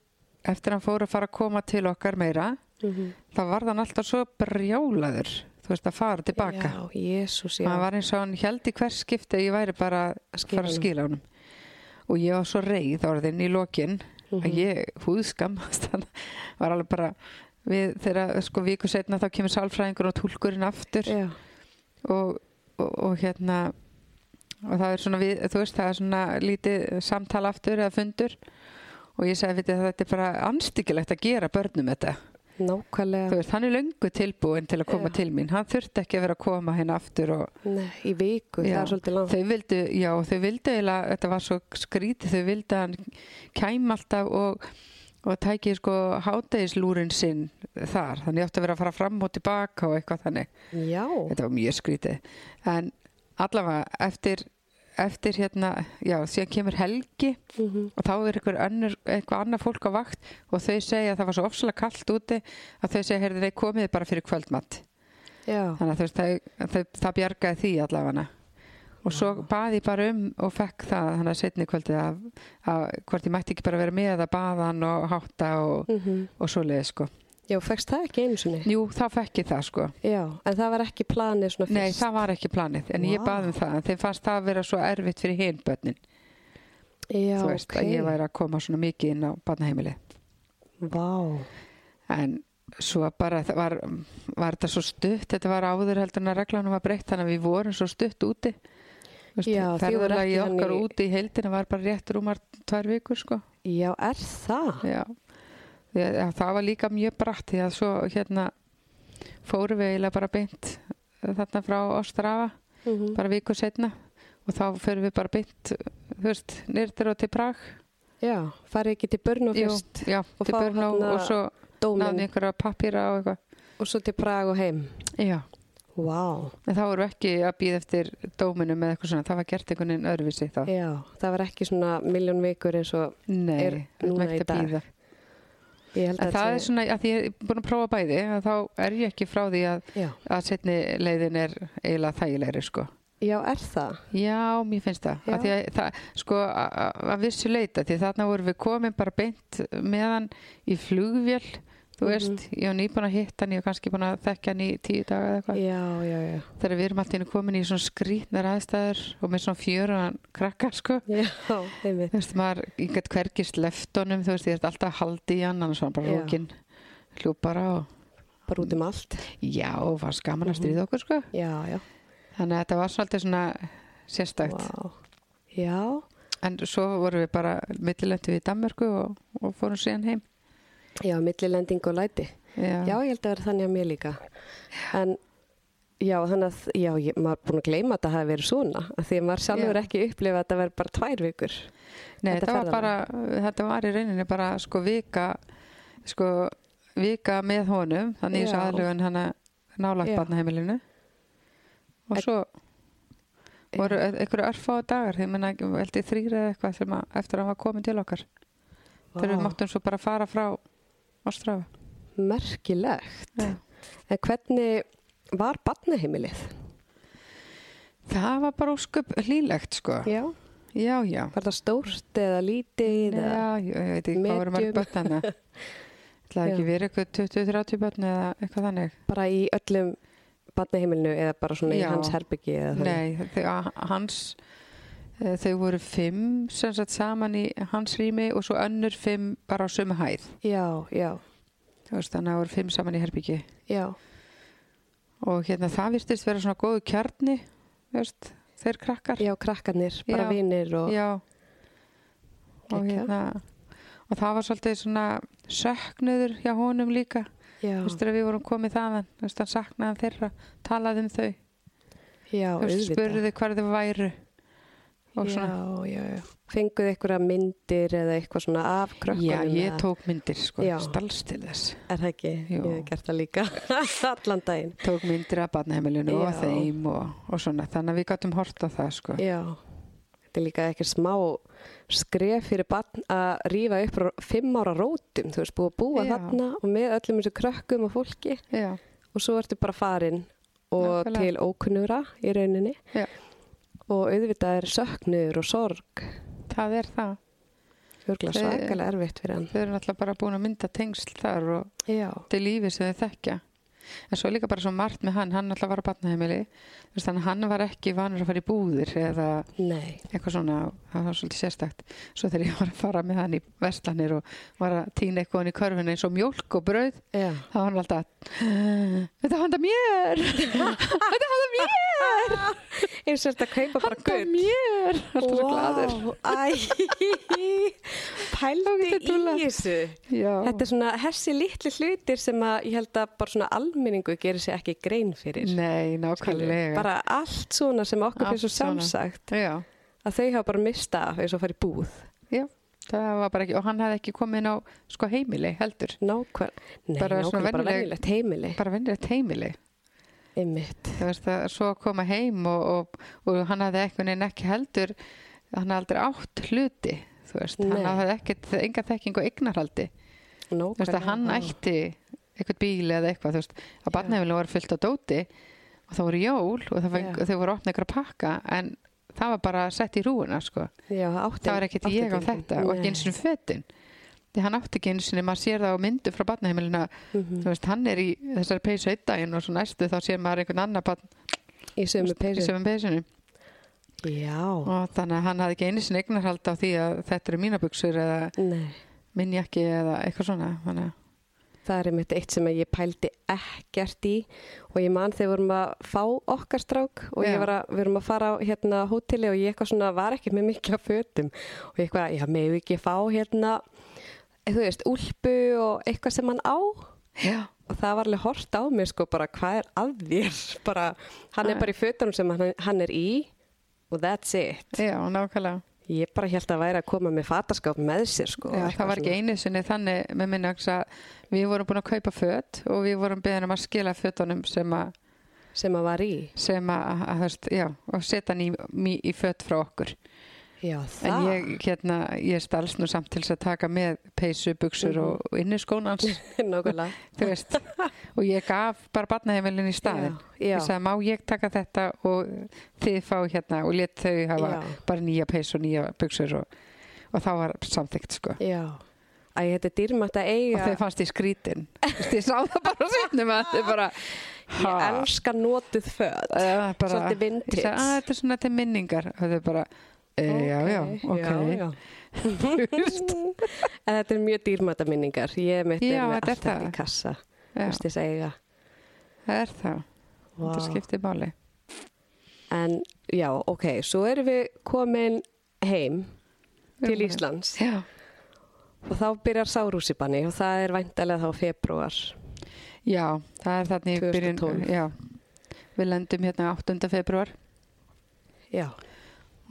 eftir hann fór að fara að koma til okkar meira
Mhm.
þá var hann alltaf svo brjálaður þú veist að fara tilbaka.
Já, jésús, já.
hann var eins og hann held í hvers skipti að ég væri bara að
skila
fara að
honum.
skila honum og ég var svo reið orðin í lokin
Mhm.
að ég húðskammast hann var alveg bara við, þegar sko viku setna þá kemur sálfræðingur og tólkurinn aftur
Já,
og, og, og hérna og það er svona við, þú veist það er svona lítið samtal aftur eða fundur og ég sagði við þetta er bara anstyggilegt að gera börnum þetta þú
nákvæmlega.
veist, hann er löngu tilbúin til að koma
Já.
til mín, hann þurfti ekki að vera að koma hérna aftur og,
Nei, í viku, það
Já,
er svolítið langt.
Þau vildu, já, þau vildu eiginlega, þetta var svo skrítið, þau vildu að hann kæm alltaf og, og tæki sko hátegislúrin sinn þar, þannig ég átti að vera að fara fram og tilbaka og eitthvað þannig,
Já,
þetta var mjög skrítið, en allavega eftir, eftir hérna, já, síðan kemur helgi
mm
og þá er einhver önnur, eitthvað annað fólk á vakt og þau segja að það var svo ofsalega kallt úti að þau segja, heyrðu, þau komið bara fyrir kvöldmatt
já,
þannig að þú veist það, það, það bjargaði því allavega og svo baði ég bara um og fekk það þannig að setni kvöldið að, að hvort ég mætti ekki bara vera með að baða hann og hátta og,
mm
og svo leið sko
já, fegst það ekki einu sinni?
Jú, þá fekk ég það sko
Já, en það var ekki planið svona
Nei,
fyrst?
það var ekki planið, en ég
Vá.
baði um það en þeim fannst það að vera svo erfitt fyrir hinn börnin
já,
þú veist, að ég væri að koma svona mikið inn á barnaheimili
Vá,
en svo bara það var, var þetta svo stutt þetta var áður heldur en að reglanum var breytt þannig að við vorum svo stutt úti Þú veist,
Já, þið voru
ferðalagi
ekki þannig-
okkar úti í heildinu var bara rétt rúmar tvær vikur sko
já, er það?
já. Já, já, það var líka mjög bratt því að svo hérna fórum við eiginlega bara beint eh, þarna frá Ostrafa
Mm -hmm.
bara viku setna og þá förum við bara beint þú veist, nýrtir og til Prag
Já, farið ekki til börn og
Jú,
fyrst
já,
Og
til
fá hérna
Börnó
þarna
og svo náðum
dómin
einhverja pappýra og eitthvað
og svo til Prag og heim.
já
Vá,
En það voru ekki að býða eftir dóminum eða eitthvað svona, það var gert einhvern veginn öðruvísi þá.
já, það var ekki svona miljón vikur eins og
Nei,
er núna
ekki
í dag.
bíða.
ég held
En
að
það er svona, að því ég er búin að prófa bæði, að þá er ég ekki frá því að,
Já,
að setni leiðin er eiginlega þægilegri, sko.
Já, er það?
Já, mér finnst það.
Já.
Af Því að, það sko, a- a- að vissu leita, því þarna vorum við komin bara beint meðan í flugvél, þú
Mhm.
veist, ég var nýbúin að hitta hann, ég var kannski búin að þekkja hann í tíu daga eða eitthvað.
Já, já, já.
Þegar við erum alltaf komin í svona skrýtnar aðstæður og með svona fjörunan krakkar, sko.
Já, einmitt.
Þú veist, maður, ég gætt hvergist leftunum, þú veist, ég er alltaf að haldi í hann, annars var hann bara
Já.
rókin, hljóp bara og
Bara út um allt.
já, var skaman
Mhm.
að stríða okkur, sko.
Já, já.
Þannig að þetta var svolítið svona sérstakt.
Vá. Já,
En svo vorum við bara millilendi við í Danmörku og, og fórum síðan heim.
já, millilending og læti. Já, ég held að vera þannig að mér líka. En já, þannig að, já, ég, maður er búin að gleyma að það hafi verið svona. Af því að maður sjálfur
Já.
ekki upplifa að þetta verið bara tvær vikur.
Nei,
þetta
þetta, var bara,
ferðalag.
þetta var í rauninni bara sko vika, sko vika með honum,
Já.
þannig þessu aðlugun hann að nálagt
Já.
barnaheimilinu. Og
En-
svo voru e- einhverju örfáðu dagar, ég menna veldi þrýra eða eitthvað sem að, eftir að hann var komin til okkar. Þegar við máttum svo bara fara frá Ástrafa.
Merkilegt.
Já.
En hvernig var barnaheimilið?
Það var bara ósköp hlýlegt sko.
Já.
Já, já.
Var það stórt eða lítið? eða-
Já, ég, ég veit ekki hvað voru mörg
medium.
börn hann Það er ekki
um- Já.
verið eitthvað 20-30 börn eða eitthvað þannig
Bara í öllum barnaheimilinu eða bara svona í
Já.
hans herbyggi eða þannig?
Nei, þegar hans eh, þau voru fimm sem sagt saman í hans rými og svo önnur fimm bara á sömu hæð
Já, já,
Þú veist, þannig að það voru fimm saman í herbyggi
já.
og hérna það virtist vera svona góðu kjarni þú veist, þeir krakkar
Já, krakkanir, bara
Já.
vinir og...
Já. og
Geggjað.
hérna og það var svolítið svona söknuður hjá honum líka
Já,
Þú veist þegar við vorum komið þaðan, þú veist hann saknaði hann þeirra, talaði um þau,
já,
þú veist spurði hvar þau væru og svona.
Já, já, já. Fenguðu einhverja myndir eða eitthvað svona af krökkunum?
Já, ég
eða-
tók myndir sko,
Já.
stals til þess.
Er það ekki?
Jú.
Ég hef gert það líka allan daginn.
Tók myndir af barnaheimilinu og
Já.
þeim og, og svona, þannig að við gáttum hort á það sko.
Já, þetta er líka ekki smá skref fyrir barn að rífa upp frá fimm ára rótum, þú veist, búið að búa
Já.
þarna og með öllum þessu krökkum og fólki
Já,
og svo ertu bara farin og
Nákvæmlega.
til ókunnura í rauninni
Já.
og auðvitað er söknur og sorg
það er það.
Örgla
Þau-
svakalega erfitt fyrir hann.
Þau eru náttúrulega bara búin að mynda tengsl þar og
Já,
til lífi sem þau þekkja. En svo er líka bara svo margt með hann, hann náttúrulega var á barnaheimili, þú veist, þannig að hann var ekki vanur að fara í búðir eða
nei.
eitthvað svona, það var svolítið sérstakt svo þegar ég var að fara með hann í verslanir og var að týna eitthvað hann í körfinu eins og mjólk og brauð,
Já.
þá var hann alltaf þetta er handa mér þetta er handa mér
Ég sérst að kaupa bara
handa mér alltaf svo gladur
Æ, pældi
Ógeðslega
í
dúllað.
þessu.
Já,
Þetta er svona hessi litli hlutir sem að ég held að bara svona almenningu gerir sér ekki grein fyrir.
nei, nákvæmlega
Bara allt svona sem okkur
Allt
fyrir svo
svona.
samsagt
já,
að þau hafa bara mista af eins og farið búð.
já, það var bara ekki og hann hefði ekki komið inn á sko heimili heldur,
Nákvæm, nei,
Bara svona
nákvæm, bara
venjuleg-
venjulegt heimili.
bara vennilegt heimili
Einmitt.
þú veist að svo að koma heim og, og, og hann hafði einhvern veginn ekki heldur hann hafði aldrei átt hluti þú veist,
Nei.
hann hafði ekkert enga þekking og eignarhaldi, þú veist
Nákvæm.
að hann ætti eitthvað bíl eða eitthvað, þú veist að barnafélum voru fullt á dóti og það voru jól og það feng,
Já.
þau voru opnað ykkur að pakka en það var bara sett í rúuna sko.
Já, átti.
það var ekkert
átti
ég á
enginn.
þetta og ekki
Nei.
eins og fötin því hann átti ekki eins og maður sér það á myndu frá barnaheimilina,
Mhm.
þú veist, hann er í þessari peysu eitt daginn og svo næstu þá sér maður einhvern annar barn
Í sömu
í
peysu.
sömum peysunum
Já,
og þannig að hann hafði ekki einu sinni eignarhald á því að þetta eru mínabuxur eða
nei.
minnjakki eða eitthvað svona þannig að
Það er einmitt eitt sem að ég pældi ekkert í og ég man þegar við vorum að fá okkar strák og
Já.
ég var að, við vorum að fara á hérna hóteli og ég eitthvað svona var ekki með mikla fötum og ég eitthvað, já, meðu ekki fá hérna, eh, þú veist, úlpu og eitthvað sem hann á og
já,
það var alveg hort á mér sko bara hvað er að þér, bara hann er bara í fötunum sem hann, hann er í og that's it.
já nákvæmlega
Ég bara held að væri að koma með fataskáp með sér sko.
já,
eitthvað
það var ekki
svona.
einu sinni þannig með minnjaks að við vorum búin að kaupa föt og við vorum beðin um að skila fötunum sem að,
sem að var í.
sem að, að, að þú veist, já, og setja hann í, í, í föt frá okkur
Já,
En
það.
ég, hérna, ég stalst nú samt til þess að taka með peysu, buksur
Mhm.
og, og inniskónans,
Nákvæmlega.
þú veist. og ég gaf bara barnaheimilin í staðin.
Já,
Ég sagði, má ég taka þetta og þið fá hérna og let þau hafa
Já.
bara nýja peysu og nýja buksur og, og þá var samþygt, sko.
já. Æ, þetta er dýrmætt að eiga.
Og þau fannst ég skrítin. Þú veist, ég sá það bara sérnum að þau bara...
Ég
ha.
elska notuð föt.
Já, bara,
Svolítið vintage.
Ég sagði, að þetta er svona til minningar og þau bara, e, já, já, ok
Já, já. en þetta er mjög dýrmæta minningar. Ég mitt
Já,
er með
þetta er
allt þetta
það.
í kassa. Þú
Já,
veist þess að eiga.
það er það, þetta
Vá.
skiptir máli
En já, ok, svo erum við komin heim til Íslands
Já,
og þá byrjar sárúsibanni og það er væntalega þá februar.
já það er þannig í byrjun-
2012.
Já, við lendum hérna 8. februar
Já,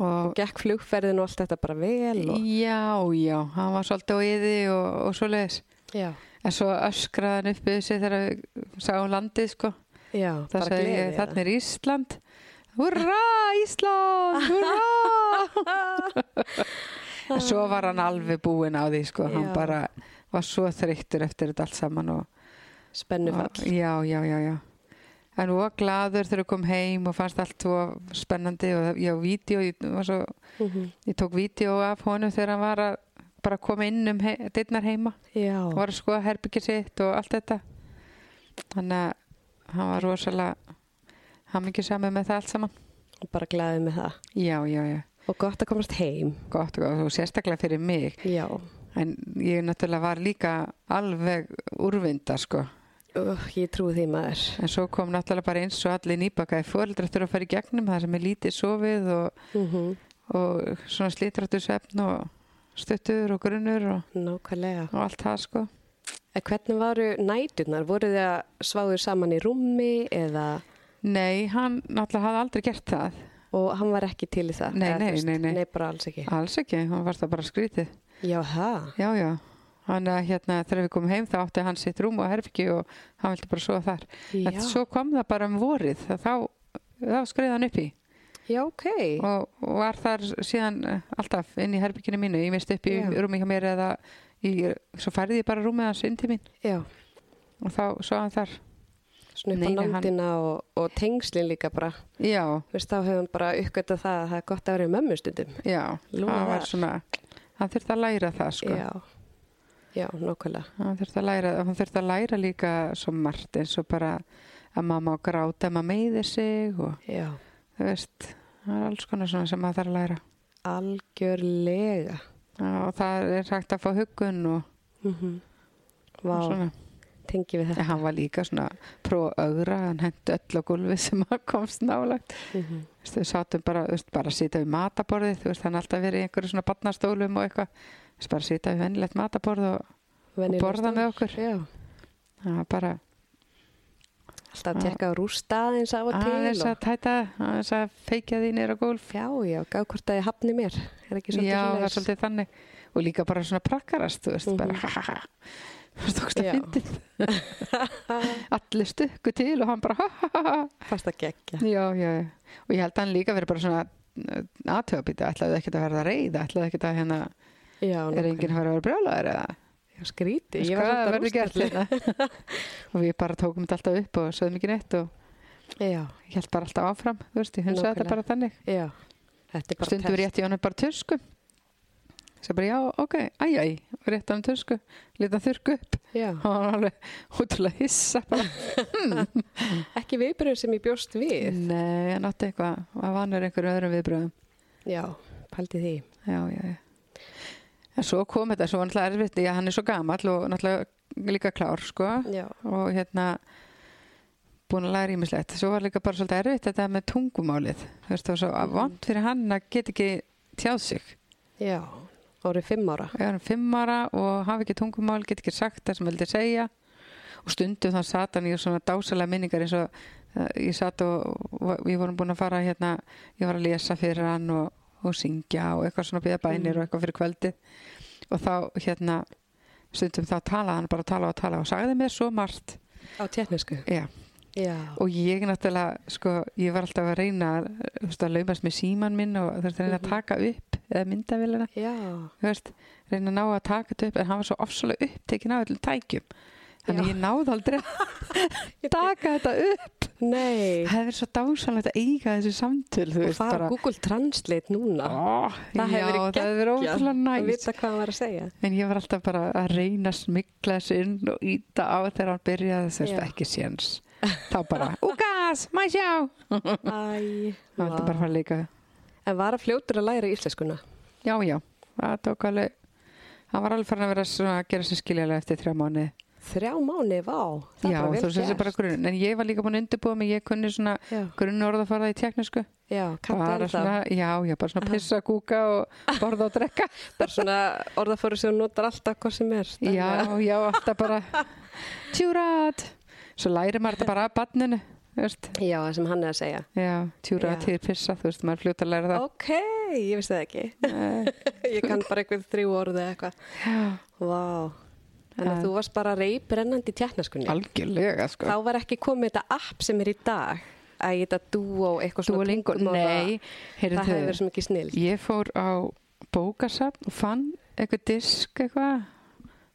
og
gekk flugferðin og allt þetta bara vel og...
Já, já, hann var svolítið á yði og, og svo leiðis
Já,
En svo öskraði hann upp við sig þegar við sáum landið, sko
já,
Það
bara
sagði ég,
gleði
þannig er Ísland Hurra, Ísland, hurra En svo var hann alveg búinn á því, sko Hann
Já.
bara var svo þreyttur eftir þetta allt saman og
Spennufall.
Og- Já, já, já, já. En hún var gladur þegar hún kom heim og fannst allt svo spennandi og það- ég á vídeo, ég, var svo,
Mhm.
ég tók vídeo af honum þegar hann var að bara koma inn um he dittnar heima
Já,
og var að skoða herbyggir sitt og allt þetta. Þannig að hann var rosalega hamingi samið með það allt saman.
bara gleðið með það.
Já, já, já.
Og gott að komast heim.
Gott og gott og sérstaklega fyrir mig.
Já,
En ég náttúrulega var líka alveg úrvinda, sko.
uh, ég trúi því maður.
En svo kom náttúrulega bara eins og allir nýbakaði fóreldrar þurfa að fara í gegnum það sem er lítið sofið og,
Mm
og svona slítrættu svefn og stuttur og grunnur og,
Nákvæmlega.
og allt það sko.
En hvernig varu næturnar? Voru þið að sváðu saman í rúmi eða...
Nei, hann náttúrulega hafði aldrei gert það.
Og hann var ekki til í það?
Nei,
eða,
nei,
þú veist,
nei, Ah. nei.
Nei, bara alls ekki.
Alls ekki, hann var það bara skrítið.
Já, það.
Já, já. Hann að hérna þegar við komum heim þá átti hann sitt rúm og herfiki og hann vildi bara sofa þar.
Já,
En svo kom það bara um vorið þá, þá, þá skriði hann upp í
já ok.
og og var þar síðan eh, alltaf inn í herbygginu mínu, ég mist upp í
Já.
rúmi hjá mér eða í, svo færði ég bara rúmið hans inn til mín
Já,
og þá svo hann þar
svona upp
Nei,
á
nei, hann-
nándina og, og tengslin líka bara.
já,
Þú veist, þá hefur hann bara uppgötað það að það er gott að vera í mömmu stundum.
já,
Lúna
hann var
þar.
svona hann þurfti að læra það sko
Já, já, nákvæmlega.
hann þurfti að læra, hann þurfti að læra líka svo margt eins og bara að maður má gráta, maður meiðir sig og
Já,
þú veist, það er alls konar svona sem maður þarf að læra
algjörlega.
Já, og það er hægt að fá huggun og,
Mm
og
Vá,
Mhm. svona
tengi við
En
þetta.
hann var líka svona próf ögra, hann hendi öll á gólfi sem hann komst nálagt.
Mm -hmm.
Þú veist, Við sátum bara, þú veist, bara að sita við mataborðið, þú veist, hann alltaf verið í einhverju svona barnastólum og eitthvað. Þú veist, bara að sita við vennilegt mataborð og, og borða með okkur.
Já,
Það var bara
alltaf að
Já.
tekka á rústa aðeins af og til.
aðeins
Og...
að tæta, aðeins að feikja því nýra gólf.
Já, já, gaf hvort að ég hafni mér. Er ekki
Já,
svolítið
það er
svoleiðis?
svolítið þannig. Og líka bara svona prakkarast, þú veist,
Mhm.
bara ha ha ha. Það stókst að
Já.
fyndið. Allir stukku til og hann bara ha ha ha ha.
Fast að gegja.
Já, já, já. Og ég held að hann líka verið bara svona aðtöfabítið, ætlaðu ekkert að verða reyð, ætlaðu ekkert að hérna,
Já,
er enginn að fara að vera brjálaður eða?
Já, skríti. Ég var
Hvað
svolítið að
verður gert
rústa.
hérna? og við bara tókum þetta alltaf upp og sögðum ekki neitt og
Já,
ég held bara alltaf áfram, þú veist, ég hunsaði þetta
Nákvæmlega.
bara þannig.
já. Þetta er bara
Stundum rétt í honum bara tösku. Svo bara, já, ok, æj, æj, rétt á hann tösku, leta þurrku upp.
Já,
Og hann var alveg hútulega hissa bara.
ekki viðbröð sem ég bjóst við.
Nei, hann átti eitthvað, hann vanur einhverju öðrum viðbröðum.
Já, paldi því.
já, já, já. En svo kom þetta, svo var náttúrulega erfitt, já, hann er svo gamall og náttúrulega líka klár, sko,
Já,
og hérna búin að læra ímislegt. Svo var líka bara svolítið erfitt þetta með tungumálið, þú veist, það var svo vant fyrir hann að geta ekki tjáð sig.
já. Árið fimm ára.
Ég var um fimm ára og hafi ekki tungumál, get ekki sagt það sem vildi segja og stundum þá sat hann í svona dásalega minningar eins og eh, ég sat og og við vorum búin að fara hérna, ég var að lesa fyrir hann og, og syngja og eitthvað svona býða bænir og eitthvað fyrir kvöldið og þá hérna stundum þá talaði hann bara að tala og tala og sagði mér svo margt
Á tjernisku.
Já.
Já.
og ég
Mhm.
náttúrulega sko, ég var alltaf að reyna að, þú veist, að laumast með síman minn og þurfti að reyna að taka upp eða myndavélina
Já.
þú veist, reyna að ná að taka þetta upp en hann var svo ofsalega upptekinn af öllum tækjum þannig
Já.
ég náði aldrei að taka þetta upp
Nei.
það hefði verið svo dásanlegt að eiga þessi samtöl þú
Og
veist,
það er
bara
Google Translate núna.
Ó,
það hefði
já,
verið
það hefði verið
geggjað
ótrúlega
Að
næst
vita hvað hann var að segja.
en ég var alltaf bara að reyna að smikla þessu inn og íta á þegar hann byrjaði þess
Já.
ekki séns þá bara, úgas, mæ sjá
Æ.
það var alltaf bara að fara að leika við.
En var að fljótur að læra íslenskuna.
já, já, það tók alveg hann var alveg farin að vera svona að gera sér skiljalega eftir þrjá mánuði
Þrjá mánu, vá. Það er
Já,
bara vel
þú veist þessi
gert.
bara grunn En ég var líka búin að undirbúa mig, ég kunni svona
Já,
grunn orða að fara það í teknisku
já kanntu
bara
ennþá.
svona, já, já, bara svona pissa, kúka og borða og drekka
Bara svona orðafóru sem hún notar alltaf hvað sem er. þannig
Já,
að-
já, alltaf bara tjúrat Svo læri maður þetta bara að badninu veist?
Já, það sem hann er að segja.
Já, tjúrat,
Já.
hér pissa, þú veist, maður er fljótt að læra það
Ok, ég vissi það ekki.
Nei.
ég kann bara einhvern þrjú orð eða eitthvað.
Já,
Vá. Þannig að
Það-
þú varst bara reybrennandi í tjarnaskunni.
algjörlega, sko
Þá var ekki komið þetta app sem er í dag. Æ, þetta Duo, eitthvað svona
Duolingo, nei,
tungumála-
heyrðu
Það hefur verið svo mikið snill.
Ég fór á bókasafn og fann eitthvað disk eitthvað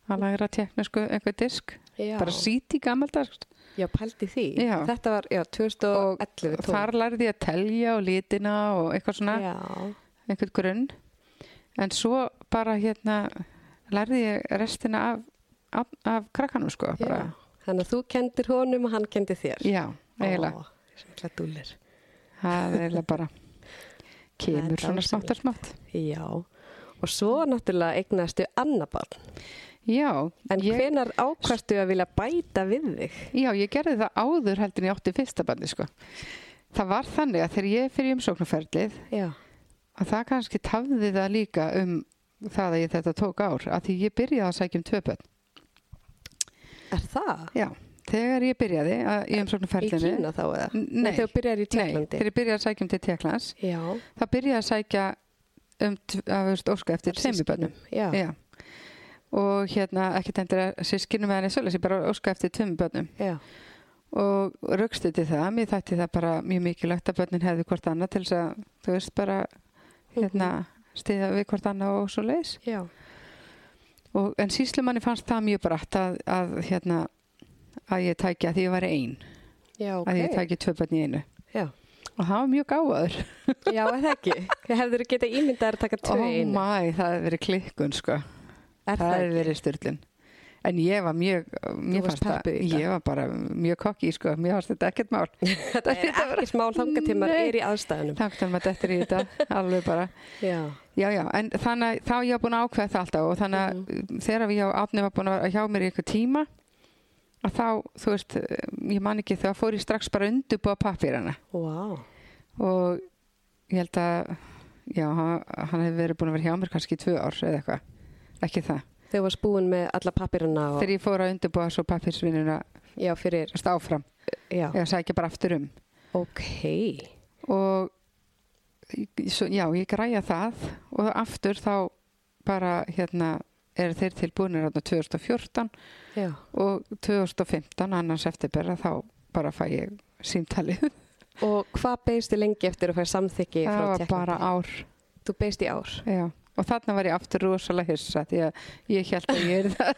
að læra teknisku eitthvað disk
Já,
bara síti gammaldags
já pældi því.
Já.
Þetta var, já, 2011.
og þar lærði ég að telja og litina og eitthvað svona,
Já,
einhvern grunn en svo bara hérna lærði ég restina af, af, af krakkanum sko bara.
já. Þannig að þú kendir honum og hann kendi þér.
já, eiginlega
Ó, sem ætla dúllir.
það er eiginlega bara
Það er
kemur svona
dásamlegt.
smátt og smátt
Já, og svo náttúrulega eignastu annabarn.
já
En
ég,
hvenar ákvastu að vilja bæta við þig?
já, ég gerði það áður heldur en ég átti fyrsta bandi sko það var þannig að þegar ég fyrir umsóknarferlið
Já,
að það kannski tafði það líka um það að ég þetta tók ár að því ég byrjaði að sækja um tvö börn
er það?
Já, þegar ég byrjaði að, í
Í
umsóknarferlinu
Kína þá eða?
N- nei.
Þegar þú byrjar í
Nei,
Tjekklandi?
þegar ég byrjaði að sækja um til Teklands
Já.
þá byrjaði ég að sækja um tv- að þú veist óska eftir tveimubönnum
Já.
Já. og hérna ekki tendur að sískinum eða neitt ég bara óska eftir tveimubönnum
Já.
og raukstuði það, mér þætti það bara mjög mikilvægt að börnin hefði hvort annað til þess að þú veist bara
Mhm.
hérna, stiða við hvort annað og svo leis
Já.
og, en síslumanni fannst það mjög brætt að, að hérna að ég tækja því ég væri ein
Já, ok.
að ég tækja tvö börn í einu
Já.
og það var mjög gáður
Já, er það ekki? Hefur þú getað ímyndað þér að taka tvö
oh
í einu?
my, það hefði verið klikkun sko
Er
það
það
hefði
ekki?
verið styrlun en ég var mjög, mér
varst
fannst það
peppuð í þetta.
ég var bara mjög kokki sko mér fannst þetta ekkert mál
Þetta er ekki smál þangar til maður
Nei.
er í aðstæðunum.
þangt að maður dettur í þetta alveg bara
Já.
já, já, en þannig að þá ég var búin að ákveða það alltaf og þannig að þegar ég átni var búin að vera hjá mér í eitthvað tíma að þá, þú veist, ég man ekki þegar fór ég strax bara að undirbúa pappirana
Vá.
og ég held að já, hann, hann hefði verið búin að vera hjá mér kannski í tvö ár eða eitthvað, ekki það
Þegar varst búin með alla pappirina og...
þegar ég fór að undirbúa svo pappirsvinnuna
Já, fyrir...
áfram,
Já.
ég sækja bara aftur um
Ok.
og ég- svo, já, ég græja það og aftur þá bara hérna er þeir tilbúinir hérna 2014
Já.
og 2015 annars eftirbera þá bara fæ ég símtalið,
Og hvað beist þið lengi eftir að fæða samþykki
það
frá
var bara
Tjekklandi?
ár
Þú beist í ár.
já. og þarna var ég aftur rosalega hissa því að ég held að ég er það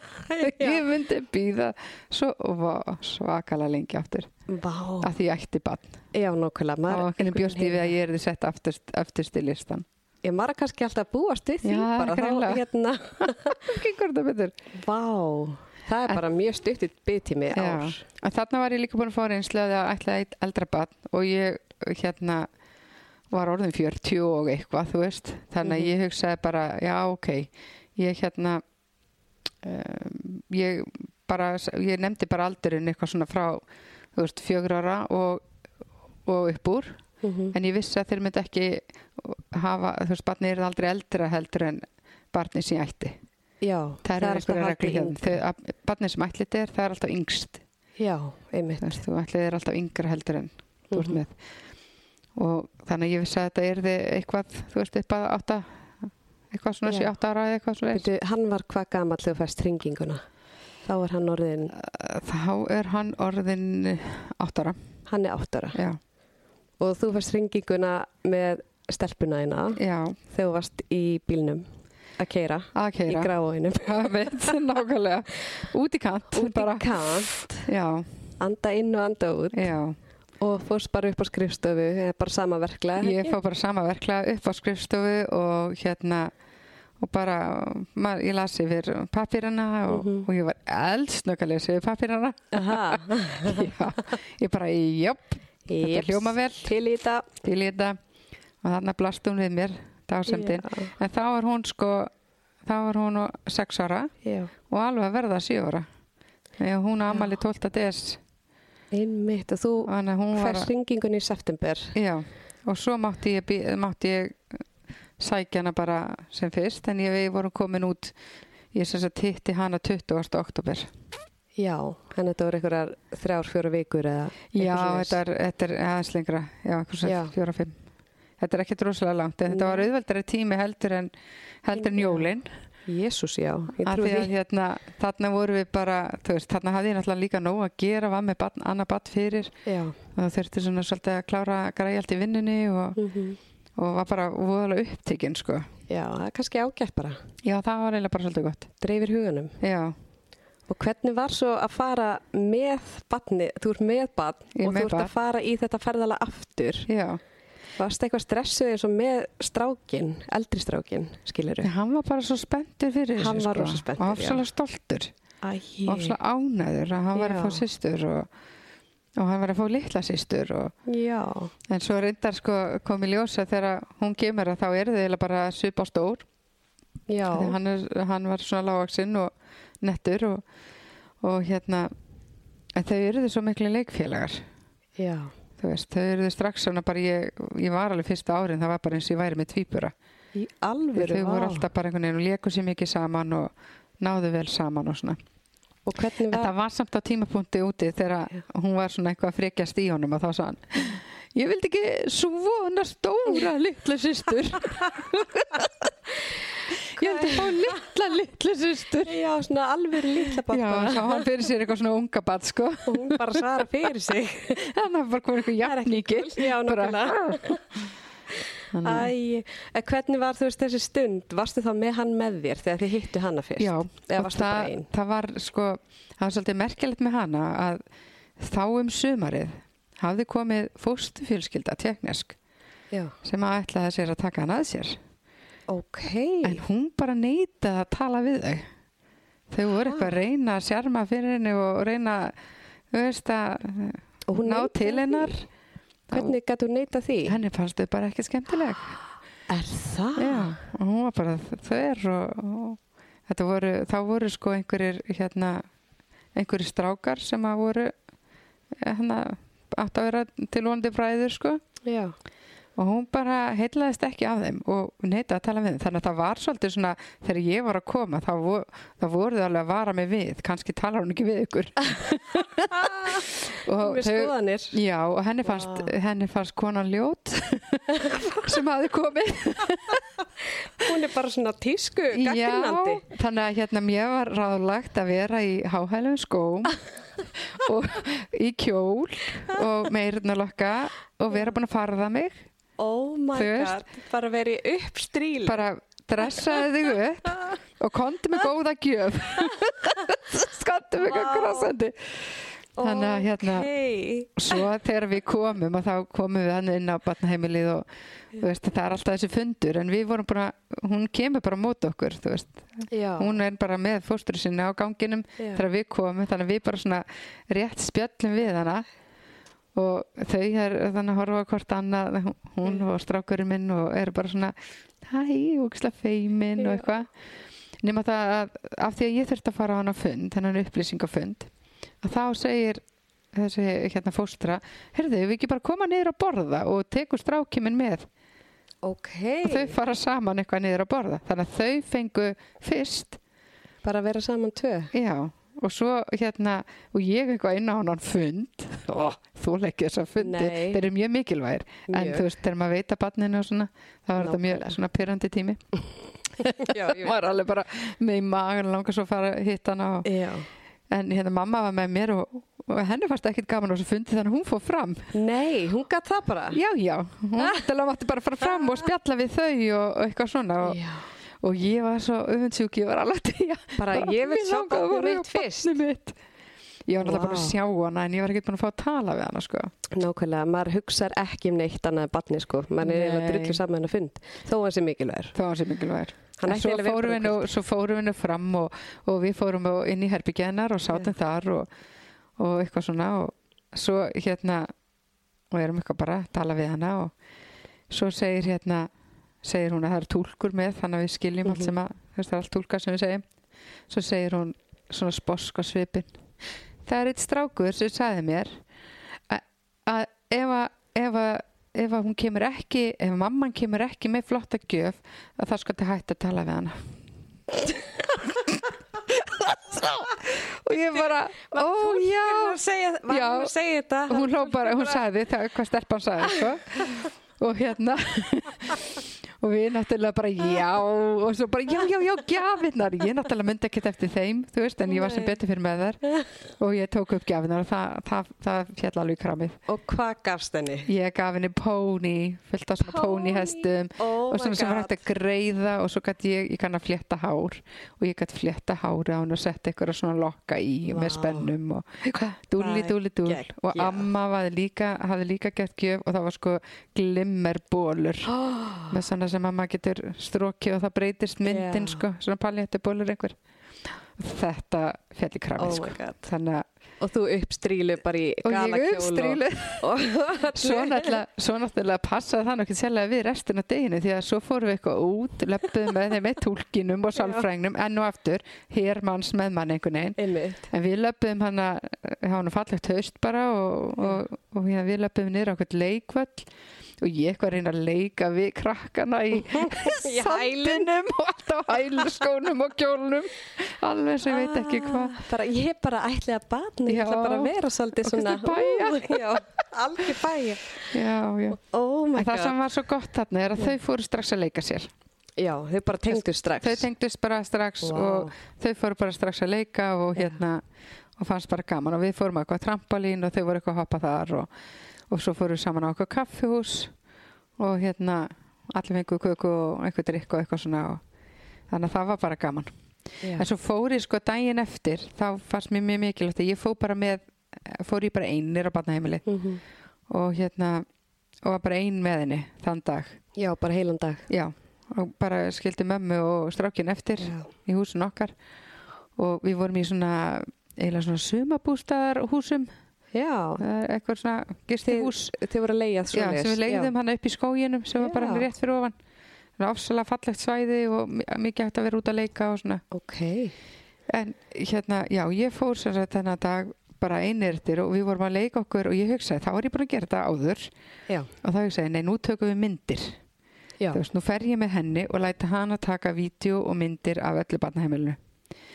ég myndi býða svo var svakalega lengi aftur
Vá.
að því ég ætti bann
Já, nákvæmlega. maður-
og henni bjóst ég við
einhvern
að ég erði sett afturst, afturst í listan
Ég maður er kannski alltaf að búast við því
Já,
bara
greinilega.
þá hérna.
gengur þetta betur
Vá, það er bara mjög stuttitt byggtími ár.
að þarna var ég líka búin að fá reynslu að ég ætlaði eitt eldra bann og ég hérna var orðin 40 og eitthvað þú veist þannig að ég hugsaði bara já ok ég hérna um, ég bara ég nefndi bara aldurinn eitthvað svona frá þú veist fjögur ára og, og upp úr
Mhm.
en ég vissi að þeir myndi ekki hafa, þú veist, barnið er aldrei eldra heldur en barnið sem ég ætti
Já,
það er
alltaf
einhverja
haldið
regli
yngri.
hérna Þau- að barnið sem ætlit er, það er alltaf yngst
Já,
þú
einmitt.
veist, þú ætlið er alltaf yngra heldur en þú ert
Mhm.
með og þannig að ég vissi að þetta er eitthvað, þú veist, upp að átta eitthvað svona
Já.
7-8 ára eða eitthvað svona
Veitu, hann var hvað gamall þegar þú fæst hringinguna? Þá er hann orðin,
þá er hann orðin 8 ára
hann er áttara.
já,
Og þú fæst hringinguna með stelpuna þína
já,
þegar þú varst í bílnum að keira
að
í
keira
gráðunum.
Það veit, nákvæmlega út í kant
Út
bara.
í kant,
já,
anda inn og anda út
já,
og fórst bara upp á skrifstofu, eða bara sama verklega.
ég fá bara sama verklega upp á skrifstofu og hérna og bara, maður, ég las yfir pappirana og,
Mhm.
og ég var eldsnögg að lesa yfir pappirana
Aha,
já, ég bara, jöp, þetta
jeps,
hljóma vel
til í þetta.
til í þetta og þarna blast hún við mér dásemdin,
Já,
en þá var hún sko þá var hún á sex ára
já.
og alveg að verða sjö ára Þegar hún á amali 12. des
Einmitt og þú
þannig að hún var
færst syngingun í september.
Já, og svo mátti ég, bí- mátti ég sækja hana bara sem fyrst en ég við vorum komin út ég sem sagt hitti hana 20. oktober
Já, en þetta voru einhverjar þrjár, fjóra vikur eða eitthvað
Já,
svoleiðis.
þetta er, þetta er aðeins lengra já, eitthvað
Já.
sem fjóra, fimm Þetta er ekkert rosalega langt en þetta var auðveldari tími heldur en heldur en
Já.
jólin
Jésús, já, ég
af
trúi því.
því að hérna, þarna vorum við bara þú veist, þarna hafði ég náttúrulega líka nóg að gera var með barn, annað barn fyrir
Já,
og það þurfti svona svolítið að klára græja allt í vinnunni og,
mm
og var bara voðalega upptekinn sko
já, það er kannski ágætt bara.
Já, það var eiginlega bara svolítið gott.
Dreifir huganum.
Já,
Og hvernig var svo að fara með batni, þú ert með batn
Ég er
og
með
þú ert
barn.
að fara í þetta ferðala aftur.
já.
Varst eitthvað stressuð eins og með strákin, eldri strákin, skilur
En Hann var bara svo spenntur fyrir
Hann
þessu. sko.
var rosa spenntur,
Og
já.
ofsalega stoltur.
Æi,
Og ofsalega ánæður að hann var að
Já.
fá systur og, og hann var að fá litla systur. Og,
já,
en svo reyndar sko kom í ljósa þegar hún kemur að þá er þið eiginlega bara svip á stór.
já,
Þegar Hann, er, hann var svona lágaksinn og nettur og, og hérna, en þau eru þið svo miklu leikfélagar.
já,
Þú veist, þau eru þið strax svona bara, ég, ég var alveg fyrsta árin, það var bara eins og ég væri með tvíbura.
í alvöru,
þau
vá.
voru alltaf bara einhvern veginn og leku sér mikið saman og náðu vel saman og svona.
Og hvernig
En það
var,
var samt á tímapunkti úti þegar
Já.
hún var svona eitthvað að frekjast í honum og þá sá hann Ég vildi ekki svona stóra litla systur. Ég vildi fá litla litla systur.
já, svona alvöru litla
Já,
batna.
sá hann fyrir sér eitthvað svona unga bat sko.
og hún bara svara fyrir sig
Þannig að bara komið eitthvað
Það er ekki
jafningil.
cool. Já,
Bara- Mm.
nokkulega. Æ, en hvernig var þú veist þessi stund varstu þá með hann með þér þegar þið hittu hanna fyrst
Já,
eða
og
varstu bara
það,
ein
það var sko, það var svolítið merkilegt með hana að þá um sumarið hafði komið fóstufjölskylda teknesk
já.
sem að ætlaði sér að taka hann að sér
ok,
en hún bara neytaði að tala við þau þau voru eitthvað að reyna að sjarma fyrir henni og reyna þú veist að
og hún
ná
neitaði
til
því?
hennar
hvernig gætu hún neyta því?
henni fannst þau bara ekki skemmtileg
er það?
Já, og hún var bara þver og, og þetta voru, þá voru sko einhverjir hérna, einhverjir strákar sem að voru hérna, átt að vera tilvonandi fræður sko
já,
og hún bara heitlaðist ekki af þeim og neyta að tala við þeim þannig að það var svolítið svona þegar ég var að koma þá, vo, þá voru þau alveg að vara mig við kannski talar hún ekki við ykkur og
með
þau
skoðanir
Já, og henni fannst,
Vá.
henni fannst konan ljót sem hafi komið
hún er bara svona tísku gagnandi
Já, þannig að hérna mér var ráðlagt að vera í háhælum skóm og í kjól og meirnulokka og vera búin að farða mig
oh my
Þú veist.
god, bara verið uppstríl
bara dressaði þig upp og kondi með góða gjöf skondi með
Vá.
góða krossandi þannig að hérna
okay.
svo þegar við komum og þá komum við hann inn á batnaheimilið og þú veist, það er alltaf þessi fundur en við vorum bara, hún kemur bara á móti okkur þú veist,
já,
hún er bara með fóstur sinni á ganginum
Já.
þegar við komum þannig að við bara svona rétt spjöllum við hana og þau er þannig að horfa á hvort annað hún- hún og strákurinn minn og er bara svona hæ, úkslega feimin og
Já.
eitthvað nema það að af því að ég þurfti að fara á hana fund þennan upplýsingafund að þá segir þessi hérna fóstra heyrðu, við ekki bara koma niður að borða og tekur strákiminn með
ok
og þau fara saman eitthvað niður að borða þannig að þau fengu fyrst
bara vera saman tvö
Já, og svo hérna, og ég eitthvað inn á hann fund, Ó, þú leggir þess að fundi,
Nei.
þeir eru mjög mikilvægir, en
Mjög.
þú veist, þegar maður veit að barninu og svona, þá var þetta mjög
Nákvæmlega.
svona pyrrandi tími,
já, ég
maður er alveg bara með í magan langar svo að fara að hitta hana og,
já,
en hérna mamma var með mér og, og henni fannst ekkert gaman á þessu fundi þannig að hún fór fram
Nei, hún gætt það bara.
já, já, hún náttúrulega mátti bara fara fram og spjalla við þau og, og eitthvað svona og,
Já.
og ég var svo öfundsjúk, ég var alveg til
Bara ég vil sjá barnið mitt fyrst.
mitt. ég var náttúrulega búin
Vá.
að sjá hana en ég var ekkert búin að fá að tala við hana sko.
Nákvæmlega, maður hugsar ekki um neitt annað en barni sko. Maður er
Nei.
eiginlega drullu saman að fund. Þó hann sé mikilvægur.
þá var sér mikilvægur
Hann
En
ætti
svo
eiginlega að vera
fórum, við
bara
nú, svo fórum við nú fram og, og við fórum á- inn í herbyggenar og sátum þar og, og eitthvað svona og svo hérna og erum eitthvað bara að tala við hana og svo segir hérna segir hún að það er túlkur með þannig að við skiljum
Mhm.
allt sem að þess, það er allt túlka sem við segjum svo segir hún svona sposk á svipin það er eitt strákur sem sagði mér að- að ef að ef að ef að hún kemur ekki, ef mamman kemur ekki með flotta gjöf að það skal til hægt að tala við hana og ég bara ó já
segja,
var Já. hún að
segja þetta?
hún hló bara, hún sagði það hvað stelpan sagði sko. og hérna og við náttúrulega bara já og svo bara já, já, já, gjafinnar ég náttúrulega myndi ekkert eftir þeim þú veist, en ég var sem
Nei.
betur fyrir með þær og ég tók upp gjafinnar og það, það, það fjall alveg í kramið
Og hvað gafst henni?
ég gaf henni póni, fullt af svona pónihestum
oh
og svona sem var hægt að greiða og svo gætt ég, ég kann að flétta hár og ég gætt flétta hára á hún og setja eitthvað svona lokka í
Vá.
með spennum og dúli,
Það
dúli, dúli
geggjað.
og amma var líka, hafði líka gett gjöf og það var sko glimmerbólur
Oh,
með svona sem mamma getur strókið og það breytist myndin
Já.
sko, svona paljettubólur einhver þetta fjall í krafið
oh my
sko
god.
þannig að,
Og þú uppstrílu bara í
og ég
galakjól
uppstrílu
og
svo náttúrulega, svo náttúrulega passaði það nú ekki sérlega við restin af deginu því að svo fórum við eitthvað út, löppuðum með þeim með tólkinum og sálfrængnum enn og aftur, hér manns með mann einhvern veginn
Einmitt.
en við löppuðum hann að hafa hann fallegt haust bara og, og, og hérna við löppuðum niður á eitthvað leikvöll og ég eitthvað að reyna að leika við krakkana í
Í hælinn.
sandinum og alltaf hælskónum og kjólnum alveg sem ég veit ekki hvað
Ah, bara, Ég bara ætli að batni, ég ætla
Já.
bara að vera svolítið
Og
svona
kannski bæja.
ú, já, Algjör bæja
já, já.
Oh my
en það
god
sem var svo gott þarna er að þau fóru strax að leika sér
Já, þau bara tengdu strax
þau tengdust bara strax
Vá.
og þau fóru bara strax að leika og hérna og fannst bara gaman og við fórum á eitthvað trampolín og þau voru eitthvað að hoppa þar og, og svo fórum við saman á eitthvað kaffihús og hérna allir fengu köku og eitthvað drikk og eitthvað svona og þannig að það var bara gaman
Já.
en svo fór ég sko daginn eftir þá fannst mér mjög mikilvægt að ég fór bara með fór ég bara einir á barnaheimili
Mhm.
og hérna og var bara ein með henni þann dag
já, bara heilan dag
já og bara skildi mömmu og strákin eftir
Já.
í húsin okkar og við vorum í svona eiginlega svona sumabústaðar húsum
Já,
eitthvað svona gistihús
þau voru að leiða
já, sem við leiðum hann upp í skóginum sem var bara
Já.
rétt fyrir ofan Það var ofsalega fallegt svæði og mi- mikið hægt að vera út að leika og svona
Ok,
en hérna, já, ég fór sem sagt þennan dag bara einirtir og við vorum að leika okkur og ég hugsaði, þá er ég búin að gera þetta áður
já,
og þá hugsaði, ég, nei, nú tökum við myndir
já
þú veist, nú fer ég með henni og læti hana taka vídeo og myndir af öllu barnaheimilinu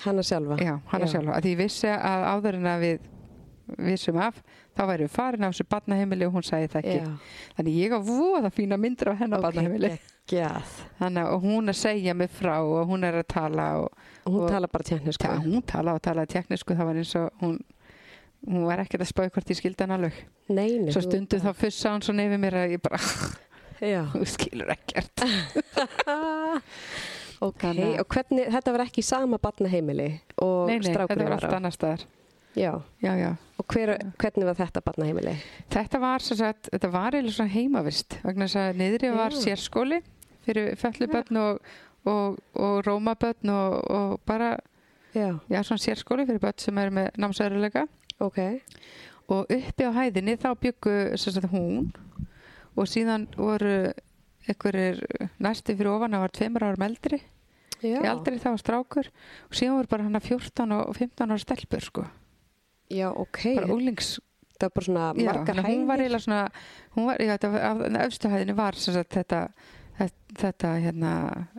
Hanna sjálfa
Já, hana
Já.
sjálfa, að því ég vissi að áður en að við vissum af, þá væri við farin af þessu barnaheimili og hún sagði það ekki.
Já.
Þannig ég á voða fína myndir af hennar
Ok,
okay, barnaheimili.
geggjað.
Þannig að og hún að segja mig frá og hún er að tala og
Og Hún
Og-
talar bara tjarni sko
ta, hún tala og talaði teknisku, það var eins og hún hún var ekkert að spáði hvort ég skildi hann alveg
Nei, nei
svo
þú-
stundu þá fussa hún svo nefið mér að ég bara,
Já
þú skilur ekkert
Ok,
Þannig að-
og hvernig, þetta var ekki sama barnaheimili og
Nei, nei, þetta
strákurinn
var
var
allt
á
annar staðar
Já,
Já, já,
og hver, hvernig var þetta barnaheimili?
Þetta var sem sagt, þetta var eiginlega svona heimavist vegna þess að niðri var
Já.
sérskóli fyrir föllubötn og, og, og rómabötn og, og bara,
Já,
já svona sérskóli fyrir bötn sem eru með námsæðurleika
ok
og uppi á hæðinni þá byggu sem sagt hún og síðan voru einhverjir næsti fyrir ofan það var tveimur árum eldri,
Já,
í aldri það var strákur og síðan voru bara hann að 14 og 15 ára stelpur sko,
já ok
bara úlings
Það var bara svona
Já,
margar
þannig að
hæðir
hún var eiginlega svona hún var, já, þetta, af, af öfstu hæðinni var sem sagt, þetta, þetta, þetta hérna,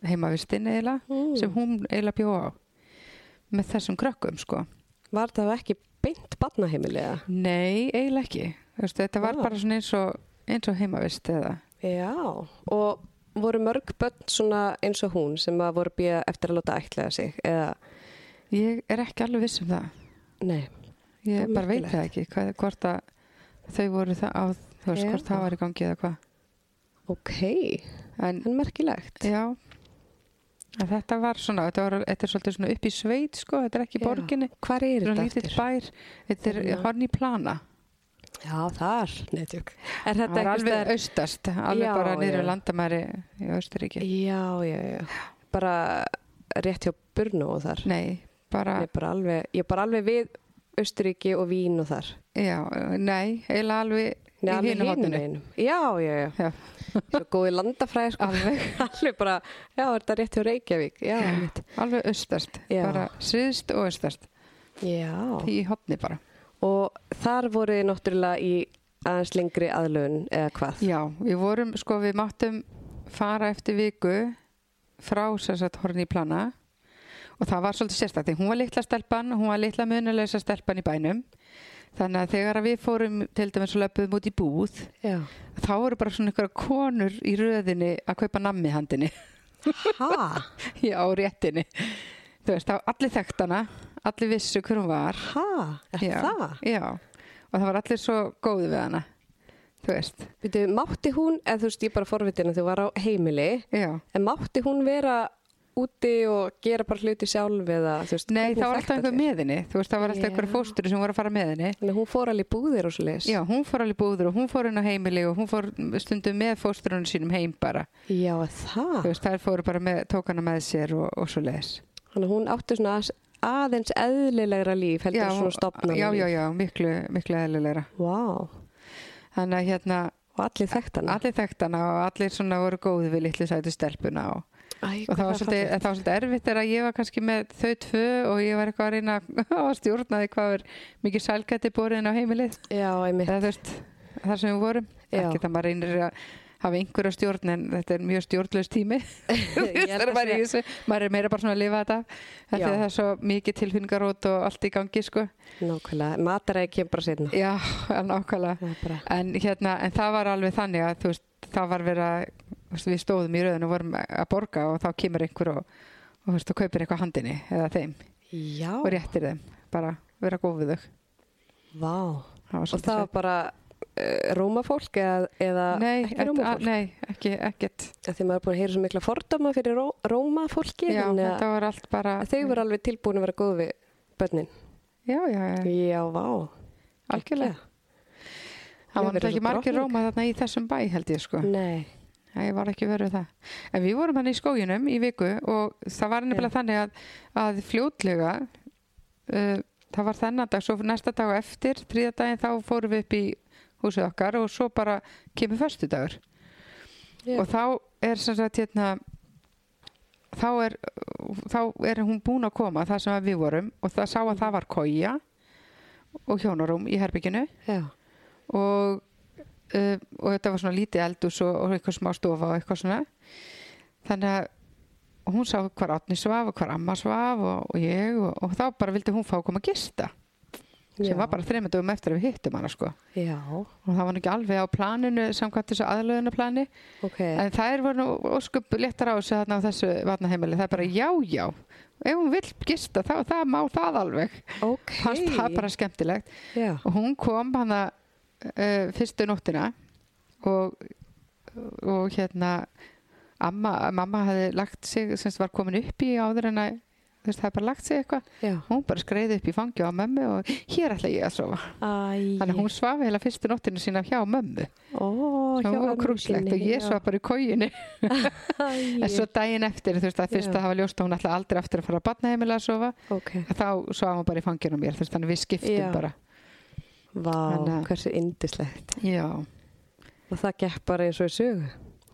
heimavistinn eiginlega
Mm.
sem hún eiginlega bjóð á með þessum krökkum sko
Var það ekki beint barnaheimili eða?
nei, eiginlega ekki Vistu, þetta var
Vá.
bara svona eins og, eins og heimavist eða
Já, og voru mörg börn svona eins og hún sem að voru býja eftir að láta ætlaða sig eða,
ég er ekki alveg viss um það
nei
ég
Það er
bara veit
merkilegt.
það ekki hvað, hvort að þau voru það á þú veist,
Já.
hvort það var í gangi eða hvað
Ok,
en
en merkilegt.
já en þetta var svona, þetta, var, þetta er svolítið svona upp í sveit sko, þetta er ekki í
Já.
borginni
Hvar er
þetta
þetta
er lítið
aftur?
bær, þetta er
Já.
horn í plana
Já, þar, neðtjúk. Er
það
þetta
var
einhvers
alveg
staðar-
austast, alveg
Já,
bara niður
já.
landamæri í Austuríki
Já, já, já. Bara rétt hjá Brno og þar.
nei, bara
Ég er bara alveg, ég er bara alveg við Östuríki og Vín og þar.
já, nei, eiginlega alveg
Nei,
Í
alveg
hinu
hinum
horninu.
veginum. Já, já, já.
já,
Svo góði landafræði sko. Alveg. alveg bara, já, er þetta rétt hjá Reykjavík? Já, mitt.
alveg austast,
Já.
bara syðst og austast
Já.
í hotni bara
Og þar voru þið náttúrulega í aðeins lengri aðlun eða hvað?
Já, við vorum, sko, við máttum fara eftir viku frá sérsagt horn í plana og það var svolítið sérstætti. Hún var litla stelpan, hún var litla munulegsa stelpan í bænum. Þannig að þegar að við fórum til dæmis og löpuðum út í búð,
Já.
þá voru bara svona einhverja konur í röðinni að kaupa nammi handinni
Ha?
á réttinni. Þú veist, þá allir þekkt hana, allir vissu hver hún var.
Ha? Er
Já,
það?
Já, og það var allir svo góði við hana. Þú veist,
Veitu, mátti hún, eða þú veist, ég er bara forvitin að þú var á heimili.
já.
En mátti hún vera úti og gera bara hluti sjálf eða þú veist?
Nei,
hvernig
það var alltaf
þekktu þér?
einhver meðinni, þú veist, það var alltaf
Já.
einhver fóstur sem voru að fara meðinni.
Þannig að hún fór alveg í búðir og svo leiðis.
Já, hún fór alveg búður og hún fór inn á heimili og hún fór stundum með fósturunum sínum heim bara.
Já, það.
Þú veist, þær fóru bara með, tók hana með sér og, og svo leiðis.
Þannig að hún átti svona aðs- aðeins eðlilegra líf, heldur já, svona stopnarnar.
já, já, já, miklu, miklu eðlilegra.
Vá,
Þannig að hérna,
og allir þekkt hann.
allir þekkt hana og allir svona voru góði við litlu sætu stelpuna og,
Æ,
og það var svolítið, það var svolítið erfitt þegar ég var kannski með þau tvö og ég var eitthvað að reyna að stjórna því hvað er mikið sælgæti borðin á heimilið.
Já, einmitt.
eða þú veist, þar sem við vorum
Já.
ekki það maður reynir að hafa einhverja stjórn en þetta er mjög stjórnlaus tími Þú
Ég
veist,
held
þegar
að
maður, er í
sé-
þessu, maður er meira bara svona að lifa þetta þetta
Já.
er það er svo mikið tilfinningarót og allt í gangi sko
Nákvæmlega, mataræði kemur bara setna.
já, en ákvæmlega
Það er bara,
en, hérna, en það var alveg þannig að þú veist, það var verið að þú veist, við stóðum í röðun og vorum að borga og þá kemur einhver og, og, þú veist, og kaupir eitthvað handinni eða þeim
já,
og réttir þeim bara vera góð við þau
vá.
það var
Og það var bara uh, rómafólk eða, eða
nei,
ekki
et- að-
rómafólk?
nei, ekki, ekkert
Af Því maður er búin að heyra svo mikla fordóma fyrir ró, rómafólki.
Já,
þannig að-
þetta var allt bara
Að Þau voru alveg tilbúin að vera góð við börnin.
Já, já, já,
Já, vá.
algjörlega
Ég
Það var
verið
náttúrulega
svo
ekki margir
drottning.
róma þarna í þessum bæ held ég sko
Nei.
Það ég var ekki verið það En við vorum hann í skóginum í viku og það var nefnilega þannig að, að fljótlega uh, það var þennan dag, svo næsta dag á eftir þriða daginn þá fórum við upp í húsið okkar og svo bara kemur föstudagur
Já.
og þá er sem sagt hérna þá er, þá er hún búin að koma það sem að við vorum og það sá að það var koja og hjónarúm í herbygginu
Já.
og, uh, og þetta var svona lítið eldus og, og eitthvað smá stofa og eitthvað svona þannig að og hún sá hvar Átni svaf og hvar Amma svaf og, og ég og, og þá bara vildi hún fá að koma að gista sem
Já.
var bara þreymur dögum eftir að við hittum hana sko og
Já,
það var nú ekki alveg á planinu samkvæmt þessu aðlöðunaplani
ok.
en þær voru nú óskup léttar á þessu þarna á þessu vatnaheimili það er bara já já ef hún vill gista þá það má það alveg
ok.
fannst það bara skemmtilegt
Já.
og hún kom hann að fyrstu nóttina og, og hérna amma, mamma hafði lagt sig sem sagt var komin upp í áður en að þú veist, það hafði bara lagt sig eitthvað
Já.
hún bara skreiði upp í fangju á mömmu og hér ætla ég að sofa
Æ.
þannig að hún svafi heila fyrstu nóttina sína hjá mömmu
Ó, hjá
það var
ömmu
krúslegt
sinni,
og ég
já.
svaf bara í kóginu
Æ.
en svo daginn eftir þú veist að fyrst
Já.
að hafa ljóst að hún ætla aldrei aftur að fara að batna heimilega að sofa
Ok.
að þá svaf hún bara í fanginu á mér þú veist þannig við skiptum
Já.
bara
Vá,
Þannig að-
hversu indislegt.
já
Og það gekk bara eins og í sögu.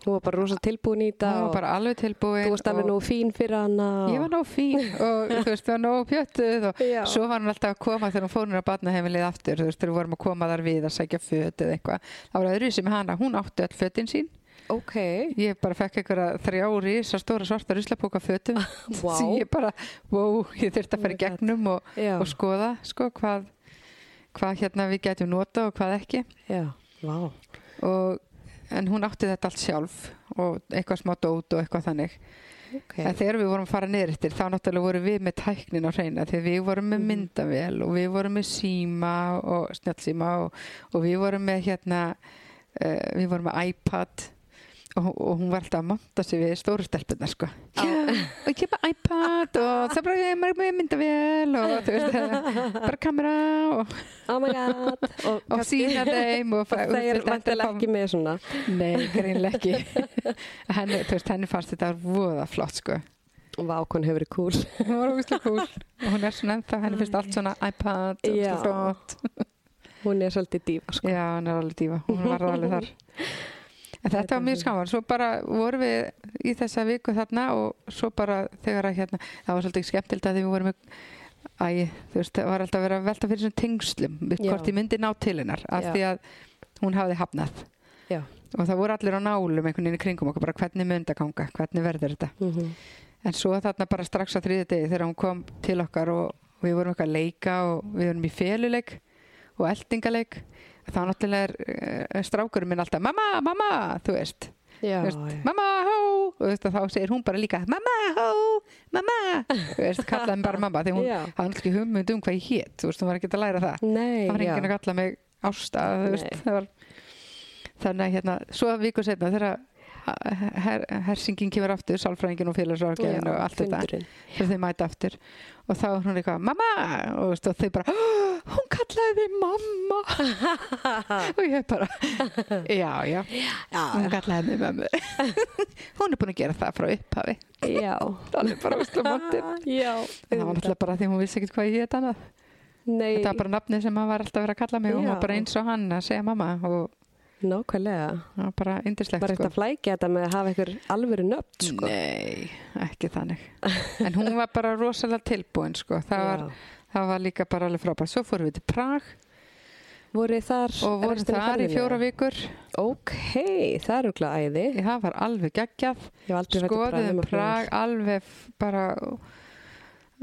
Hún var bara rosa tilbúin í þetta.
hún var bara alveg
og
tilbúin
Þú varst alveg
og
nú fín fyrir hana. og-
ég var nóg fín og þú veist, það var nóg pjöttuð og
Já.
svo var hún alltaf að koma þegar hún fór hún að batna heimilið aftur, þú veist, þegar við vorum að koma þar við að sækja föt eða eitthvað, það var öðru sem hana hún átti öll fötin sín,
Ok.
ég bara fekk einhverja þrjá risa stóra svarta ruslapóka fötum
Vá.
sem ég bara, wow, ég þurfti að fara
Oh my God.
í gegnum og,
Já.
og skoða sko, hvað, hvað hérna við getum nota og hvað ekki
Já. Vá.
og, en hún átti þetta allt sjálf og eitthvað smá dót og eitthvað þannig
Okay.
En þegar við vorum að fara niður eftir þá náttúrulega vorum við með tæknin á hreina þegar við vorum með
Mhm.
myndavél og við vorum með síma og snjallsíma og, og við vorum með hérna uh, við vorum með iPad og, og hún var alltaf að monta sig við stóru stelpunna sko
Á.
Já, og ég kemur iPad og það bara ég er með myndavél og þú veist eh, bara kamera og,
Oh my god. Og,
og sína þeim og,
Það er vantilega ekki með svona.
Nei, greinlega ekki henni, þú veist, henni fannst þetta voða flott sko
Vákon hefur verið cool.
hún var ógustlega kúl og hún er svona ennþá, henni finnst allt svona iPad og
Já.
svona flott
Hún er svolítið dífa sko.
já, hún er alveg dífa, hún var alveg þar en þetta var mjög skaman svo bara vorum við í þessa viku þarna og svo bara þegar að hérna það var svolítið skemmtilegt að því við vorum með Æ, þú veist, það var alltaf að vera að velta fyrir þessum tengslum, við
Já.
hvort ég myndi ná til hennar af
Já.
því að hún hafði hafnað
Já.
og það voru allir á nálum einhvern veginn í kringum okkur, bara hvernig myndi að ganga hvernig verður þetta
Mm
En svo þarna bara strax á þriðja degi þegar hún kom til okkar og við vorum eitthvað að leika og við vorum í feluleik og eldingaleik þá náttúrulega er uh, strákurinn minn alltaf mamma, mamma, þú veist
Já,
Þú
já.
mamma, hó, og þú veist, og þá segir hún bara líka mamma, hó, mamma þú veist, kallaði mig bara mamma því hún
Já.
hafði náttúrulega ekki hugmynd um hvað ég hét þú veist, hún var ekki að læra það
Nei,
það var enginn að
já.
kalla mig ásta þú veist,
Nei.
það var þannig að hérna, svo viku setna þegar að her, hersingin kemur aftur sálfræðingin og félagsrákjæðin og allt þetta
fundurinn.
þegar þau mæta aftur og þá er hún eitthvað mamma og, veist, og þau bara "Hó, hún kallaði þig mamma og ég bara já já, hún
Já,
kallaði þig mamma hún er búin að gera það frá upphafi
já.
það er bara úsla móttir
Já.
það var náttúrulega bara því hún vissi ekkert hvað ég hétt annað
Nei,
þetta var bara nafnið sem hann var alltaf verið að kalla mig og hún
Já.
var bara eins og hann að segja mamma og
nákvæmlega.
það var bara yndislegt
Bara
sko.
þetta flækja þetta með að hafa einhver alvöru nöfn sko.
nei, ekki þannig en hún var bara rosalega tilbúin sko. það, var,
Já.
það var líka bara alveg frábært svo fórum við til Prag
Voru þar
og vorum þar í fjóra vikur
Ok, það er okkur æði.
það var alveg geggjað
Ég hef aldrei farið til Prag
skoðum
nema
Prag
fjórar.
alveg f- bara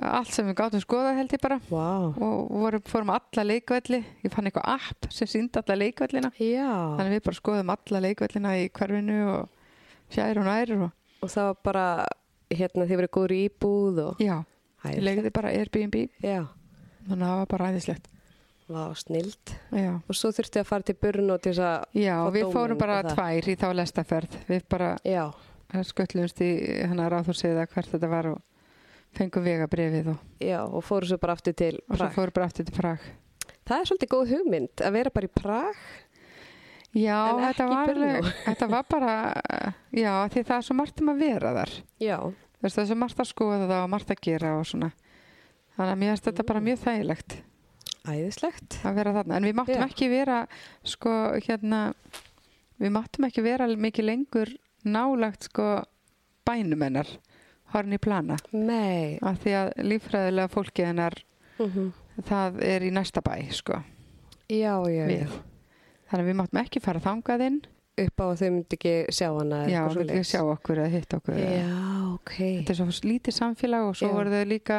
allt sem við gátum skoða held ég bara
Vá.
og vorum, fórum alla leikvelli ég fann eitthvað app sem síndi alla leikvellina
Já.
þannig að við bara skoðum alla leikvellina í hverfinu og fjær og nær og
Og það var bara, hérna, þið verið góður í íbúð og...
já, ég
Æði.
legði bara Airbnb
Já,
þannig að það var bara æðislegt
vá, snild.
já,
Og svo þurfti að fara til burn og til þess að...
já
Fá
við
dóminn
fórum bara
og það.
tvær í þá lestaferð við bara
Já,
sköllumst í hennar ráðhúsið að hvert þetta var og fengum vegabrifið og,
já, og fóru svo bara aftur til
og svo
Prag.
fórum bara aftur til Prag
Það er svolítið góð hugmynd að vera bara í Prag.
já,
En ekki
þetta var,
Brno.
alveg- þetta var bara já, því það er svo margt um að vera þar
Já,
Þú veist, það er svo margt að skoða það og margt að gera og svona þannig að mér finnst þetta bara mjög þægilegt
æðislegt.
að vera þarna, en við máttum
Já.
ekki vera sko, hérna við máttum ekki vera mikið lengur nálagt sko bænumennar, horn í plana
Nei.
af því að líffræðilega fólkið hennar
Mm
Mhm. það er í næsta bæ sko,
Já, já, já.
við þannig að við máttum ekki fara þangað inn
Upp á að þau myndi ekki sjá hana. eða
já,
eitthvað
við
svoleiðis.
sjá okkur eða hitt okkur eða.
Já, ok.
þetta er svo lítið samfélag og svo
Já.
voru þau líka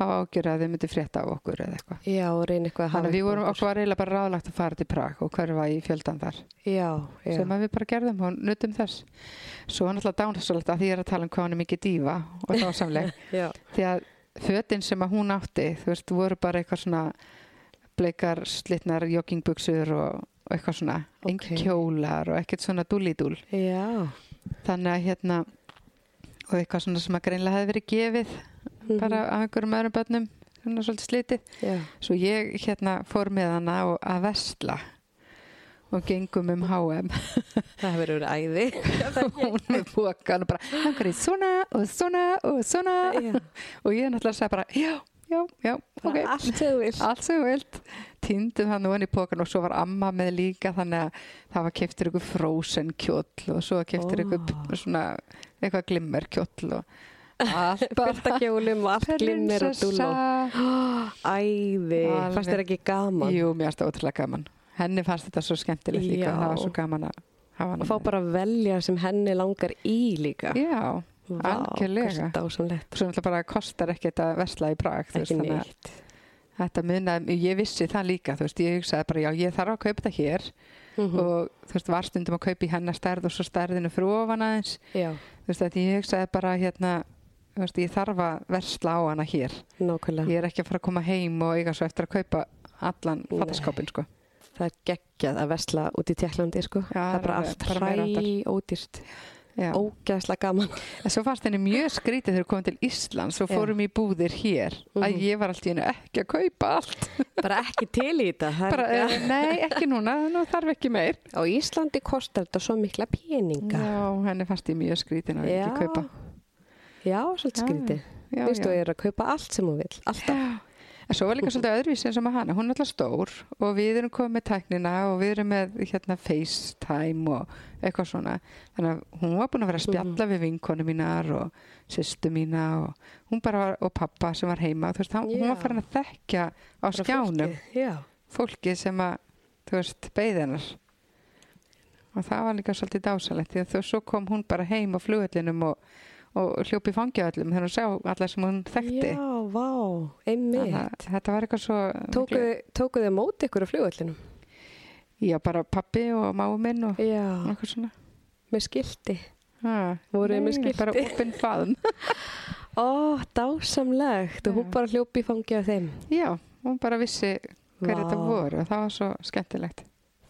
á ágjur að þau myndi frétta á okkur eða eitthvað
Já, og reyna eitthvað að hafa.
Þannig að við
upp á
vorum,
okkur.
okkur var eiginlega bara ráðlagt að fara til Prag og hverfa í fjöldan þar
Já, já.
sem að við bara gerðum og nutum þess Svo er náttúrulega dánasalegt að því ég er að tala um hvað hann er mikið dífa og dásamleg
Já,
því að fötin sem að hún átti þú veist, voru bara eitthvað svona bleikar, slitnar, joggingbuksur og, og eitthvað svona,
Ok.
engin kjólar og ekkert svona dúlídúl
já.
þannig að hérna og eitthvað svona sem að greinlega hefði verið gefið bara af einhverjum öðrum börnum svona svolítið slitið
Mhm. Já,
Svo ég hérna fór með hana og að vestla og gengum um H&M
það hefur verið æði.
og hún með bókan og bara langar í svona og svona og svona
Já.
og ég náttúrulega sagði bara já, já, já, ok,
Bara Allt sem þú vilt.
allt sem þú vilt týndum hann og hann í bókan og svo var amma með líka þannig að það var keftur ykkur frozen kjóll og svo keftur
Ó.
ykkur p- svona eitthvað glimmer kjóll og allt
Fyllt að
bara
kjólum og allt glimmir og dúl og
prinsessa.
æði.
Alveg.
Fannst þér ekki gaman?
Jú, mér finnst það ótrúlega gaman. Henni fannst þetta svo skemmtilegt líka
Já.
og það var svo gaman að hafa hana.
Og fá
með.
bara að velja sem henni langar í líka.
Já, algjörlega.
Vá, dásamlegt.
svo náttúrulega bara kostar ekkert að versla í Prag. þú
Ekki
þannig að-
neitt.
þetta munaði, ég vissi það líka þú veist, ég hugsaði bara, já, ég þarf að kaupa þetta hér
Mhm.
og þú veist, var stundum að kaupa í hennar stærð og svo stærðinu frú ofan aðeins
Já,
þú veist, að ég hugsaði bara hérna, þú veist, ég þarf að versla á hana hér
nákvæmlega.
ég er ekki að fara að koma heim og eiga svo eftir að kaupa allan
Nei.
fattaskopin, sko
Það er geggjað að vesla út í Tjekklandi, sko. það
Já,
er bara
alveg-
allt
bara meira
hræ
áttar.
ódýrt.
já.
Ógæðslega gaman.
En svo fannst henni mjög skrítið þegar við komum til Íslands og
Já.
fórum í búðir hér að
Mhm.
ég var alltaf einu ekki að kaupa allt
Bara ekki til í þetta. það er
bara,
ekki-
eh, nei, ekki núna, nú þarf ekki meir
Á Íslandi kostar þetta svo mikla peninga.
Já, henni fannst ég mjög skrítin að
Já.
ekki kaupa
Já, svolítið
Já,
skrítið.
já,
Þú veist, þú
já.
er að kaupa allt sem hún vil. Alltaf.
En svo var líka svolítið öðruvísi eins og með hana hún er alltaf stór og við erum komið með tæknina og við erum með hérna FaceTime og eitthvað svona þannig að hún var búin að vera að
Mhm.
spjalla við vinkonu mínar og systu mína og hún bara var, og pappa sem var heima þú veist, hann, hún var
Já.
farin að þekkja á
Bara
skjánum
fólkið. Já.
fólki sem að, þú veist, beið hennar og það var líka svolítið dásalegt því að þú svo kom hún bara heim á flugöllinum og, og hljópi fangja öllum þegar hún sá alla sem hún þekkti
Já, vá,
Þannig
einmitt.
að þetta var eitthvað svo
Tókuð tóku þið á móti ykkur á flugvöllinu?
já, bara pappi og máu minn og
Já,
eitthvað svona
með skilti.
ha,
Voruð þið með
nei,
skilti?
bara opinn faðum
Ó, dásamlegt. Og hún
Já.
bara hljópi í fangja af þeim.
já, hún bara vissi hver þetta
Vá,
voru og það var svo skemmtilegt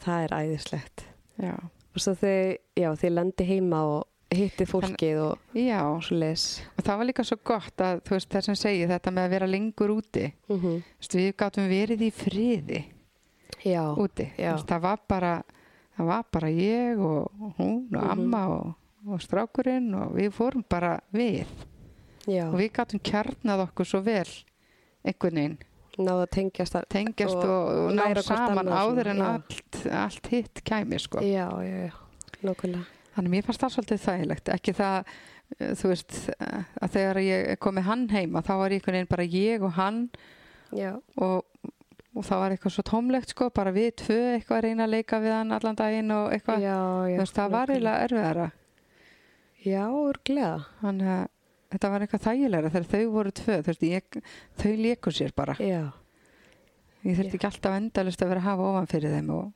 Það er æðislegt.
já,
Og svo þið, já, þið lendi heima og hitti fólkið og
já, og
svo les.
það var líka svo gott að þú veist, það sem segir þetta með að vera lengur úti
Mm
Þú veist, við gátum verið í friði
Já,
úti Þú
já.
veist, það var bara það var bara ég og hún og
Mhm.
amma og, og strákurinn og við fórum bara við
já.
og við gátum kjarnað okkur svo vel einhvern veginn,
Náðu að tengjast að...
tengjast
Og
og, og, ná
læra hvort
saman
annað
áður
svona,
en
já.
allt, allt hitt kæmi sko.
Já, já, já. Nákvæmlega.
þannig mér fannst það svolítið þægilegt ekki það, eh, þú veist eh, að þegar ég kom með hann heima þá var ég einhvern veginn bara ég og hann
Já,
og, og það var eitthvað svo tómlegt sko, bara við tvö eitthvað að reyna að leika við hann allan daginn og eitthvað
já, já.
Þú veist, það var
nákvæmlega.
eiginlega erfiðara
Já, örglega.
þannig að þetta var eitthvað þægilegra þegar þau voru tvö, þú veist, ég, þau léku sér bara,
Já.
ég þurfti ekki alltaf endalist að vera að hafa ofan fyrir þeim og,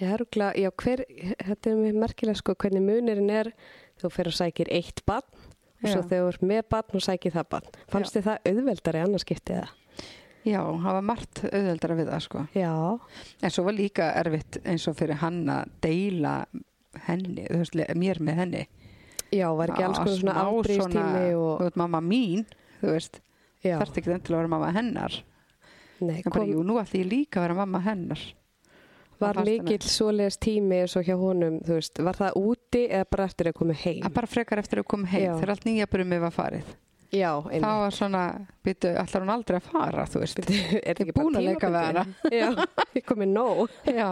Já, rúkla, já, hver, þetta er mjög merkilega sko hvernig munirinn er þú fer og sækir eitt barn og svo
Já.
þegar þú ert með barn og sækir það barn fannst þið það auðveldari annarskiptið það?
já, það var margt auðveldara við það sko,
Já,
en svo var líka erfitt eins og fyrir hann að deila henni, þú veist, le- mér með henni
já, var ekki alls
Að
konar svona
smá
afbrýðstími
svona,
og
þú veist, mamma mín, þú veist
já,
þarf ekki endilega að vera mamma hennar
nei,
en bara,
kom,
jú, nú ætti ég líka að vera mamma hennar
var
fannst henni-
mikill svoleiðis tími svo hjá honum, þú veist, var það úti eða bara eftir að koma heim?
að bara frekar eftir að koma heim
Já.
þegar allt nýja brumið var farið
já, einmitt.
þá var svona, býtu, allar hún aldrei að fara þú veist,
er þetta
ég
ekki
búin
bara
að leika við
tímabundið? Já, ég komið nóg.
já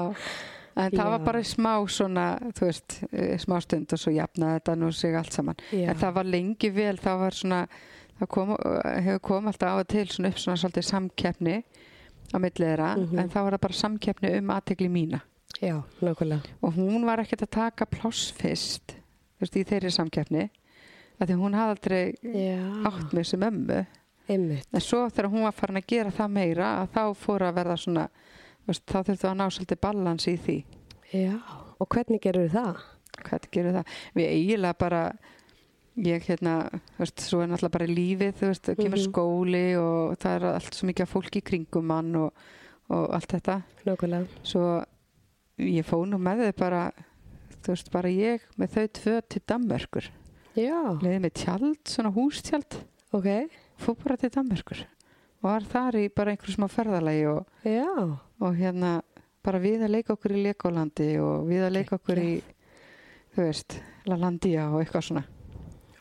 en það var
Já.
bara smá svona, þú veist eh, smá stund og svo jafnaði þetta nú sig allt saman
Já,
en það var lengi vel, það var svona það kom, eh, hefur kom alltaf á og til svona upp svona svolítið samkeppni á milli þeirra,
Mhm.
en þá var það bara samkeppni um aðtegli mína
já, nákvæmlega.
og hún var ekkert að taka pláss fyrst, þú veist, í þeirri samkeppni af því hún hafði aldrei
Já,
átt með þessu mömmu
einmitt.
En svo þegar hún var farin að gera það meira að þá fór að verða svona þú veist, þá þurftu að ná svolítið balans í því
Já, og hvernig gerur það?
hvað gerir það? Við eiginlega bara ég hérna, þú veist, svo er náttúrulega bara lífið, þú veist, það kemur
Mhm.
skóli og það er allt svo mikið af fólki í kringum mann og, og allt þetta
Nákvæmlega.
svo ég fóð nú með þau bara þú veist, bara ég með þau tvö til Danmörkur,
Já,
leiði með tjald svona hústjald,
ok,
fóð bara til Danmörkur og var þar í bara einhverjum smá ferðalagi og
já,
og hérna bara við að leika okkur í Legolandi og við að leika okkur í þú veist, Lalandia og eitthvað svona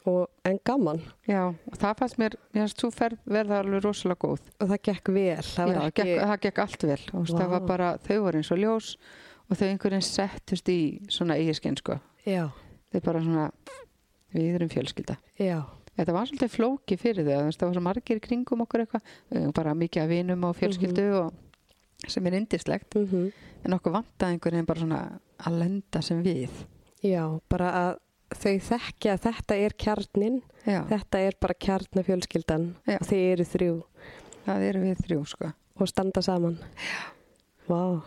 og, en gaman
já, og það fannst mér, mér fannst þú ferð verða alveg rosalega góð
og það gekk vel, það
já,
var
gekk,
ekki,
það gekk allt vel og wow. það
Vá.
var bara, þau voru eins og ljós og þau einhvern veginn settust í svona eigiskinn sko,
já,
þau bara svona við erum fjölskylda
já,
þetta var svolítið flóki fyrir þau þú veist, það var svo margir í kringum okkur eitthvað við eigum bara mikið af vinum og fjölskyldu
Mhm.
og sem er indislegt
mm
en okkur vantaði einhvern veginn bara svona að lenda sem við
já, bara að þau þekkja að þetta er kjarnin,
já,
þetta er bara kjarnafjölskyldan
Já.
og þið eru þrjú
það eru við þrjú sko.
og standa saman Vá,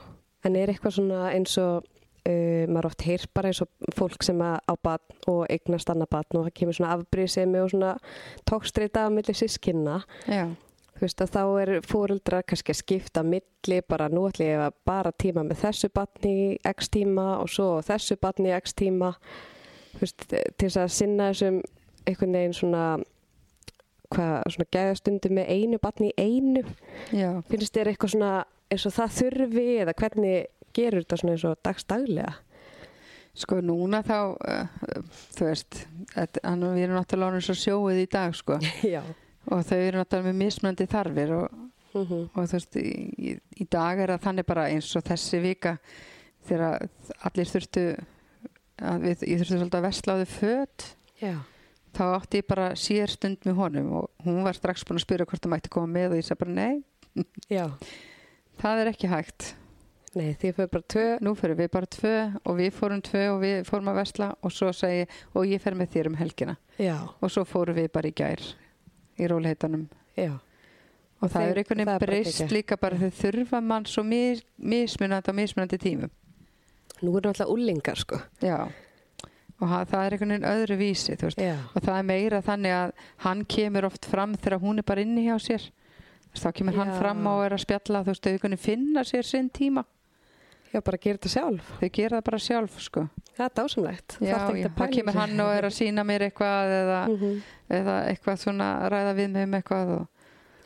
en er eitthvað svona eins og uh, maður oft heyr bara eins og fólk sem að- á batn og eignast annað batn og það kemur svona afbrísemi og svona tókstrita á milli sískinna
Já,
þú veist að þá er fóreldrar kannski að skipta á milli, bara nú ætla ég að bara tíma með þessu batni í x tíma og svo þessu batni í x tíma þú veist, til þess að sinna þessum einhvern veginn svona hvað, svona gæðastundu með einu batni í einu
já,
finnst þér eitthvað svona eins og það þurfi eða hvernig gerur þetta svona eins og dagstaglega
sko núna þá, uh, þú veist, þetta- hann, við erum náttúrulega orðin svo sjóið í dag sko
já
og þau eru náttúrulega með mismunandi þarfir og,
mm -hmm.
og þú veist, í, í dag er það þannig bara eins og þessi vika þegar allir þurftu að við, ég þurftu svolítið að vesla á þau föt
já,
þá átti ég bara síðar stund með honum og hún var strax búin að spyrja hvort það mætti koma með og ég sagði bara nei,
já
það er ekki hægt
nei því fyrir bara tvö
nú fyrir við bara tvö og við fórum tvö og við fórum að vesla og svo segi ég, og ég fer með þér um helgina
já,
og svo fórum við bara í gær í rólheitanum
já,
og það
Þeim-
er
það er
einhvern veginn
bara
breyst
geggjað.
líka bara þau þurfa mann svo mis, mismunandi á mismunandi tímum
nú er náttúrulega úlingar sko
já og ha- það er einhvern veginn öðru vísi þú veist
já,
og það er meira þannig að hann kemur oft fram þegar hún er bara inni hjá sér Þú veist, þá kemur hann
Já.
fram og er að spjalla þú veist, þau kunni finna sér sinn tíma
já bara gera þetta sjálf
þau gera það bara sjálf sko.
það er dásamlegt
já, já, þá kemur hann og er að sína mér eitthvað eða,
mm -hmm.
eða eitthvað svona ræða við mig um eitthvað og,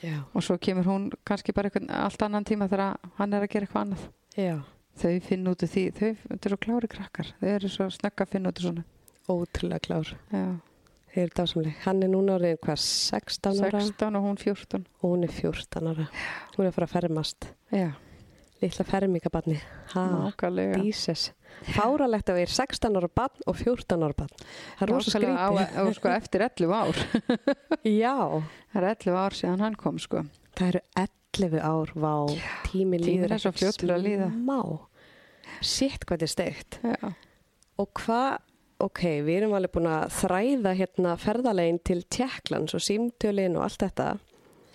já,
og svo kemur hún kannski bara eitthvað allt annan tíma þegar hann er að gera eitthvað annað
já,
þau finn út úr því, þau þau eru klári krakkar þau eru svo snögg að finna út úr svona
ótrúlega klár
já,
þið eru dásamleg, hann er núna orðin hvað 16 ára
16 og hún 14
og hún er 14 ára hún er að fara að fermast,
já,
litla fermingabarni ha,
Ah. nákvæmlega
Jesus. Fáralegt að við erum 16 ára barn og 14 ára barn. Það er rosa
Nákvæmlega
skrítið.
á, á, sko, eftir 11 ár
Já,
það er 11 ár síðan hann kom sko.
það eru 11 ár, vá, tími
Tíminn
líður
er svo fljótur að líða.
Má, sitt hvað þetta er steikt.
já,
Og hvað, ok, við erum alveg búin að þræða hérna ferðalegin til Tjekklands og símtölin og allt þetta,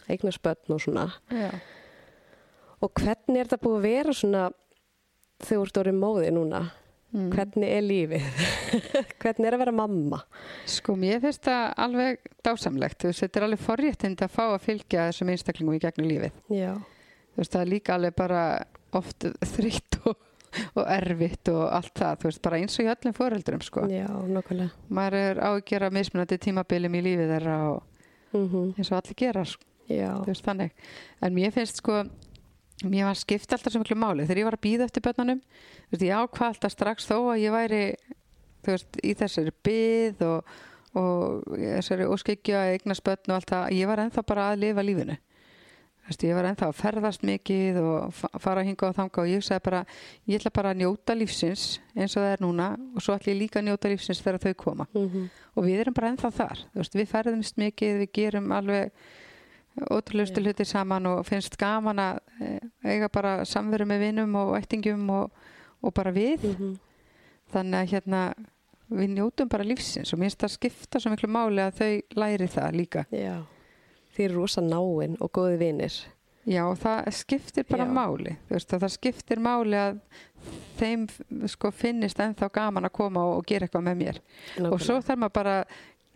eignarsbönn og svona.
já.
Og hvernig er þetta búið að vera svona þegar þú ert orðið móði núna?
Mm.
Hvernig er lífið? hvernig er að vera mamma?
sko mér finnst það alveg dásamlegt, þú veist, þetta er alveg forréttind að fá að fylgja þessum einstaklingum í gegnum lífið
Já.
þú veist, það er líka alveg bara oft þreytt og, og erfitt og allt það, þú veist, bara eins og í öllum foreldrum sko,
Já, nokkulega.
maður er á að gera mismunandi tímabilum í lífið þeirra og
Mm
eins og allir gera sko,
Já,
þú veist, þannig, en mér finnst sko mér var skipt alltaf svo miklu máli þegar ég var að býða eftir börnunum þú veist, ég ákvað alltaf strax þó að ég væri þú veist, í þessari byð og, og þessari óskikja eignast börn og allt það, ég var ennþá bara að lifa lífinu þú veist, ég var ennþá að ferðast mikið og fa- fara að hinga og þanga og ég sagði bara, ég ætla bara að njóta lífsins eins og það er núna og svo ætla ég líka að njóta lífsins þegar þau koma
Mhm.
og við erum bara ennþá þar þú veist, við ferðumst mikið, við gerum alveg ótrúlegustu hluti saman og finnst gaman að eh, eiga bara samveru með vinum og ættingum og, og bara við
Mhm.
þannig að hérna við njótum bara lífsins og minnst að skipta svo miklu máli að þau læri það líka
já. Þið eru rosa náinn og góði vinir.
já og það skiptir bara
Já.
máli þú veist að það skiptir máli að þeim sko finnist ennþá gaman að koma og, og gera eitthvað með mér og svo þarf maður bara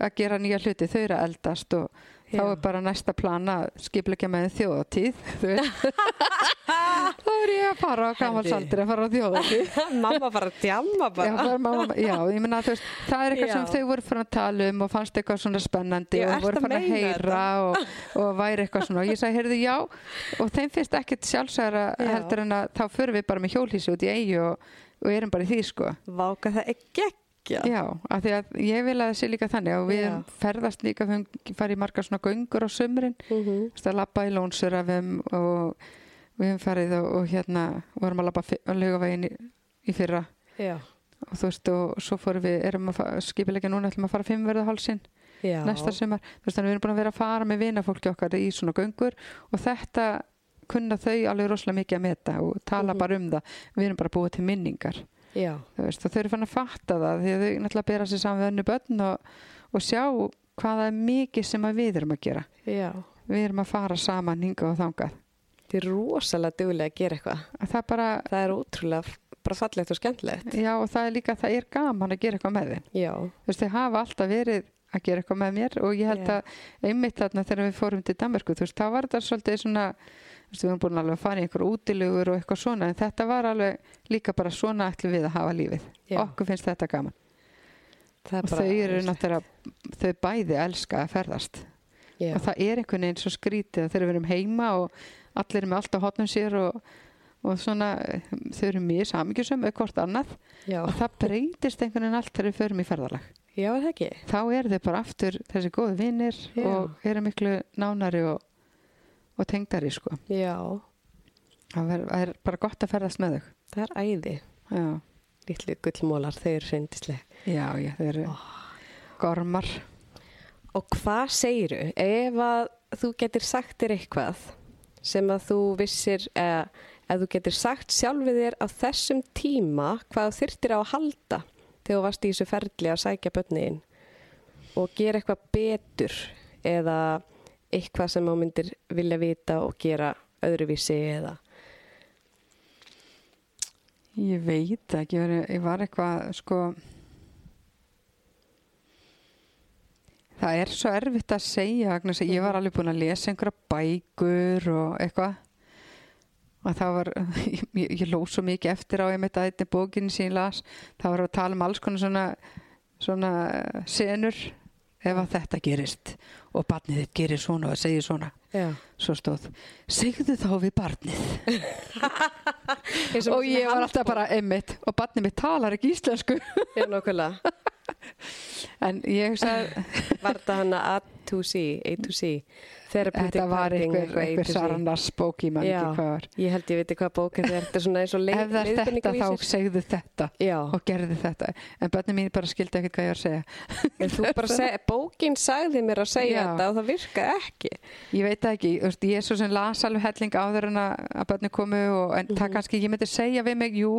að gera nýja hluti, þau eru að eldast og þá
Já.
er bara næsta plana skipleikja með þeim þjóðatíð þú veist. þá er ég að fara á gamalsaldri að fara á þjóðatíð
mamma bara djamma
já, bara, mamma, já, ég meina þú veist það er eitthvað
Já.
sem þau voru fyrir að tala um og fannst eitthvað svona spennandi
Já,
og voru
ertu að
fyrir að
meina
heyra og, og væri eitthvað svona og ég sagði, heyrðu, já og þeim finnst ekkit sjálfsæra
Já.
heldur en að þá förum við bara með hjólhísi út í eigi og, og erum bara í því sko
Váka það er geggja.
Já, af því að ég vil að það sé líka þannig og við
Já.
erum ferðast líka, við höfum farið í margar svona göngur á sömurinn,
Mm -hmm.
þú veist að labba í lónsurafum og við höfum farið og, og hérna vorum að labba fi- á laugavegin í, í fyrra
Já.
og þú veist og svo fórum við, erum að skipilegja núna ætlum að fara fimmverðahálsinn
Já.
næsta sumar, þú veist þannig við erum búin að vera að fara með vinafólki okkar í svona göngur og þetta kunna þau alveg rosalega mikið að meta og tala
Mhm.
bara um það, við erum bara að búa til minningar
Já.
þú veist, og þau eru fann að fatta það því að þau náttúrulega bera sér saman við önnu börn og, og sjá hvað það er mikið sem að við erum að gera
Já.
við við erum að fara saman hingað og þangað
Þetta er rosalega duglega að gera eitthvað.
að það bara,
Það er ótrúlega f- bara fallegt og skemmtilegt.
já og það er líka það er gaman að gera eitthvað með þeim
Já,
þú veist, þau hafa alltaf verið að gera eitthvað með mér og ég held
Já.
að einmitt þarna þegar við fórum til Danmarku þú veist, þá var þetta svolítið svona þú veist, við erum búin alveg að fara í einhver útilegur og eitthvað svona, en þetta var alveg líka bara svona ætlum við að hafa lífið
Já.
okkur finnst þetta gaman
það er
og þau eru náttúrulega, þau bæði elska að ferðast
Já,
og það er einhvern veginn svo skrítið að þegar við erum heima og allir eru með allt á hotnum sér og, og svona eh, þau eru mjög samingjusum eða hvort annað
já,
og það breytist einhvern veginn allt þegar við förum í ferðalag
já, er það ekki.
þá eru þau bara aftur þessi góðu vinnir
Já.
og eru miklu nánari og, og tengdari sko
Já,
það er, það er bara gott að ferðast með þau
það er æði.
já,
Lítlu gullmólar, þau eru reyndislega.
já, já þau eru gormar
Og hvað segiru ef að þú getur sagt þér eitthvað sem að þú vissir, eða ef þú getur sagt sjálfið þér á þessum tíma hvað þú þyrtir á að halda þegar þú varst í þessu ferli að sækja bönniðin og gera eitthvað betur eða eitthvað sem þú myndir vilja vita og gera öðruvísi eða
Ég veit ekki, ég var, ég var eitthvað sko Það er svo erfitt að segja Agnes, ég var alveg búin að lesa einhverja bækur og eitthvað og það var, ég, ég ló svo mikið eftir á einmitt að þetta bókinni sem ég las það var að tala um alls konar svona svona senur ef að þetta gerist og barnið þitt gerir svona og segir svona
Já.
svo stóð, segðu þá við barnið og ég var alltaf bara emmitt og barnið mitt talar ekki íslensku
Já, nokkulega.
en ég sagði
Var þetta hana A2C, A2C, Therapeutic
þetta var
Parenting,
einhver,
eitthvað
einhver
A2C.
sarnas bók ég man
Já.
ekki hvað var
Ég held ég viti hvað bókin þér, þetta er svona eins og leið,
ef það er þetta þá segðu þetta
Já,
og gerðu þetta en barnið mín bara skildi ekkert hvað ég var að segja
en þú bara seg, bókin sagði mér að segja
Já.
þetta og það virkaði ekki.
ég veit það ekki, þú veist, ég er svo sem las alveg helling áður en að, að barnið komu og, en það kannski, ég myndi segja við mig, jú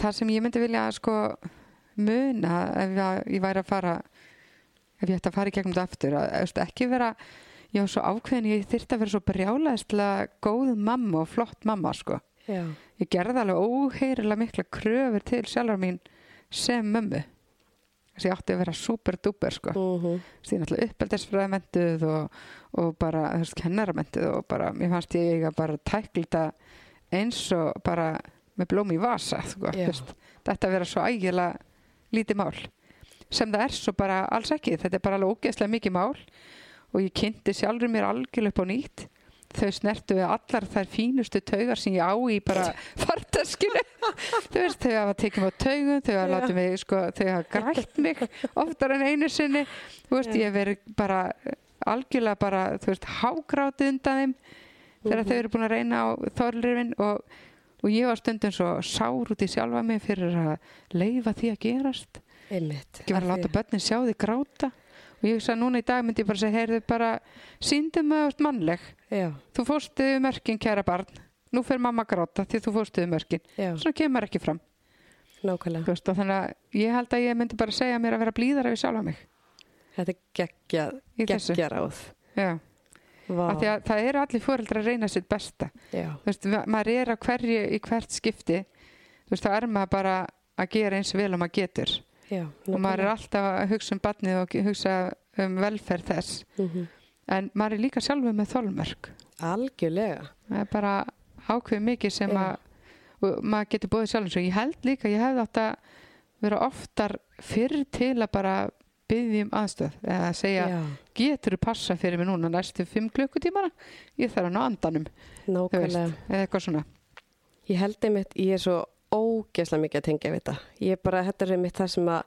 það sem ég myndi vilja sko muna ef ég, ég væri að fara ef ég ætti að fara í gegnum þetta aftur að, þú veist, ekki vera, ég var svo ákveðin ég þyrfti að vera svo brjálæðislega góð mamma og flott mamma sko
Já,
ég gerði alveg óheyrilega mikla kröfur til sjálfur mín sem mömmu þess að ég átti að vera super duper sko
mm
Þú veist, ég er náttúrulega uppeldisfræðamentuð og, og bara þú veist, kennaramentuð og bara, mér fannst ég eiga bara að tækla þetta eins og bara með blóm í vasa sko,
Já.
þú veist. þetta að vera svo ægilega lítið mál sem það er svo bara alls ekki þetta er bara alveg ógeðslega mikið mál og ég kynnti sjálfur mér algjörlega upp á nýtt þau snertu við allar þær fínustu taugar sem ég á í bara fartaskinu þau veist, þau hafa tekið mig á taugum þau hafa
Já.
látið mig, sko, þau hafa grætt mig oftar en einu sinni þú veist,
Já.
ég hef verið bara eh, algjörlega bara, þú veist, hágrátið undan þeim þegar
Mhm.
þau eru búin að reyna á þorlirfin og, og ég var stundum svo sár út í sjálfa mig fyrir að leifa því að gerast
einmitt.
ekki var að láta börnin sjá því gráta og ég sagði núna í dag myndi ég bara segja heyrðu bara, síndum að þú ert mannleg
Já,
þú fórst yfir mörkin kæra barn nú fer mamma að gráta því þú fórst yfir mörkin
já,
svona kemur ekki fram þú
nákvæmlega.
veist, og þannig að ég held að ég myndi bara segja mér að vera blíðara við sjálfa mig
Þetta er geggjað,
Í þessu.
geggjaráð.
Já,
Vá,
af því að það eru allir fóreldrar að reyna sitt besta
já,
Þú veist, ma- maður er að hverju í hvert skipti þú veist, þá er maður bara að gera eins vel og maður getur
já.
og maður er alltaf að hugsa um barnið og ge- hugsa um velferð þess
Mhm.
en maður er líka sjálfur með þolmörk
Algjörlega.
það er bara ákveð mikið sem
Já.
að og maður getur búið sjálfum svo ég held líka, ég hefði átt að vera oftar fyrr til að bara byggja um aðstöð eða að segja,
Já,
getur þú passa fyrir mig núna næstu fimm klukkutímana ég þarf hann á andanum, þú veist,
nákvæmlega.
eða eitthvað svona
Ég held einmitt, ég er svo ógeðslega mikið að tengja við þetta. Ég er bara, þetta er einmitt það sem að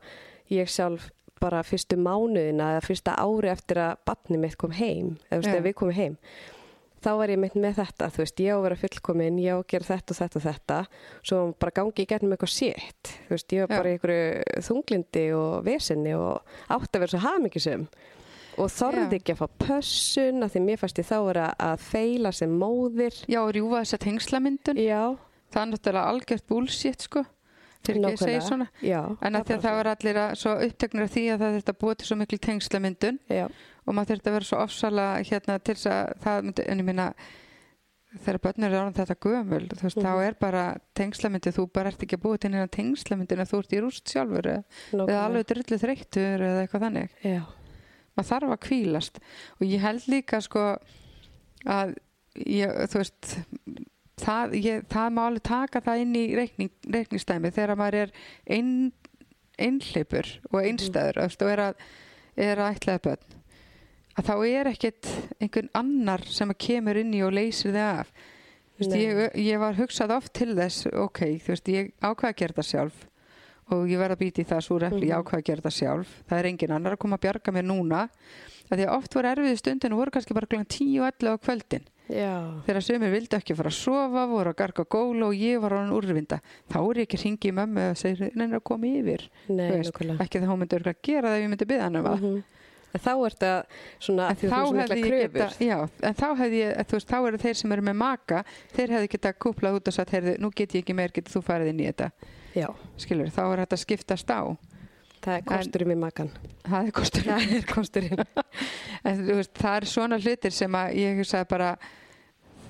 ég sjálf bara fyrstu mánuðina eða fyrsta ári eftir að batni mitt kom heim, eða þú veist,
Já.
ef við komum heim. Þá var ég mitt með þetta, þú veist, ég á að vera fullkomin, ég á að gera þetta og þetta og þetta, svo bara gangi í gegnum eitthvað sétt, þú veist, ég var
Já.
bara í einhverju þunglindi og vesinni og átti að vera svo hamingisum og
Já.
þorði ekki að fá pössun að því mér fæst ég þá vera að feila sem móðir,
Já, og rjúfa þessa tengslamyndun
já,
það er náttúrulega algjört bullshit sko fyrir ekki að segja
Nákvæmlega.
svona
já.
en að því að
bara
það var allir að, svo uppteknir af því að það þetta búið til svo miklu tengslamyndun
Já,
og maður þurfti að vera svo ofsala hérna til þess að það myndi, en ég minna þegar börnur er orðin þetta gömul þú veist, þá er bara tengslamyndi þú bara ert ekki að búa til neina tengslamyndin að þú ert í rúst sjálfur eða- eða alveg drullu þreyttur eða eitthvað þannig
Já,
maður þarf að hvílast og ég held líka sko að ég, þú veist það, ég, það má alveg taka það inn í reikning, reikningsdæmi þegar maður er ein, einhleipur og einstæður mm. og er að, er að ætlaða börn að þá er ekkit einhvern annar sem að kemur inn í og leysir þið af Þú veist,
Nei.
ég, ég var hugsað oft til þess ok, þú veist, ég ákvað að gera það sjálf og ég verð að býta í það súr efli, ég ákvað að gera það sjálf það er engin annar að koma að bjarga mér núna að því að oft voru erfiði stundin og voru kannski bara klukkan 10 og 11 á kvöldin
já,
þegar sömur vildi ekki fara að sofa voru að garga góla og ég var á hann úrvinda þá er ég ekki að hringi í mömmu og segir neina að koma yfir
nei,
Þú veist,
nákvæmlega.
ekki það hún myndi örgulega gera það ef ég myndi byggða hann um það
-hmm. Þá er þetta svona
En
að því
þá
þú svona
hefði
mikla
ég
kröfur.
geta, já, en þá hefði ég, þú veist, þá eru þeir sem eru með maka, þeir hefði geta kúplað út og sagt, heyrðu, nú get ég ekki meir, getur þú farið inn í þetta,
Já,
skilur, þá er þetta skiptast á,
það er kosturinn með makan.
það er kostur,
Það er kosturinn.
en þú veist, það er svona hlutir sem að ég hugsaði bara,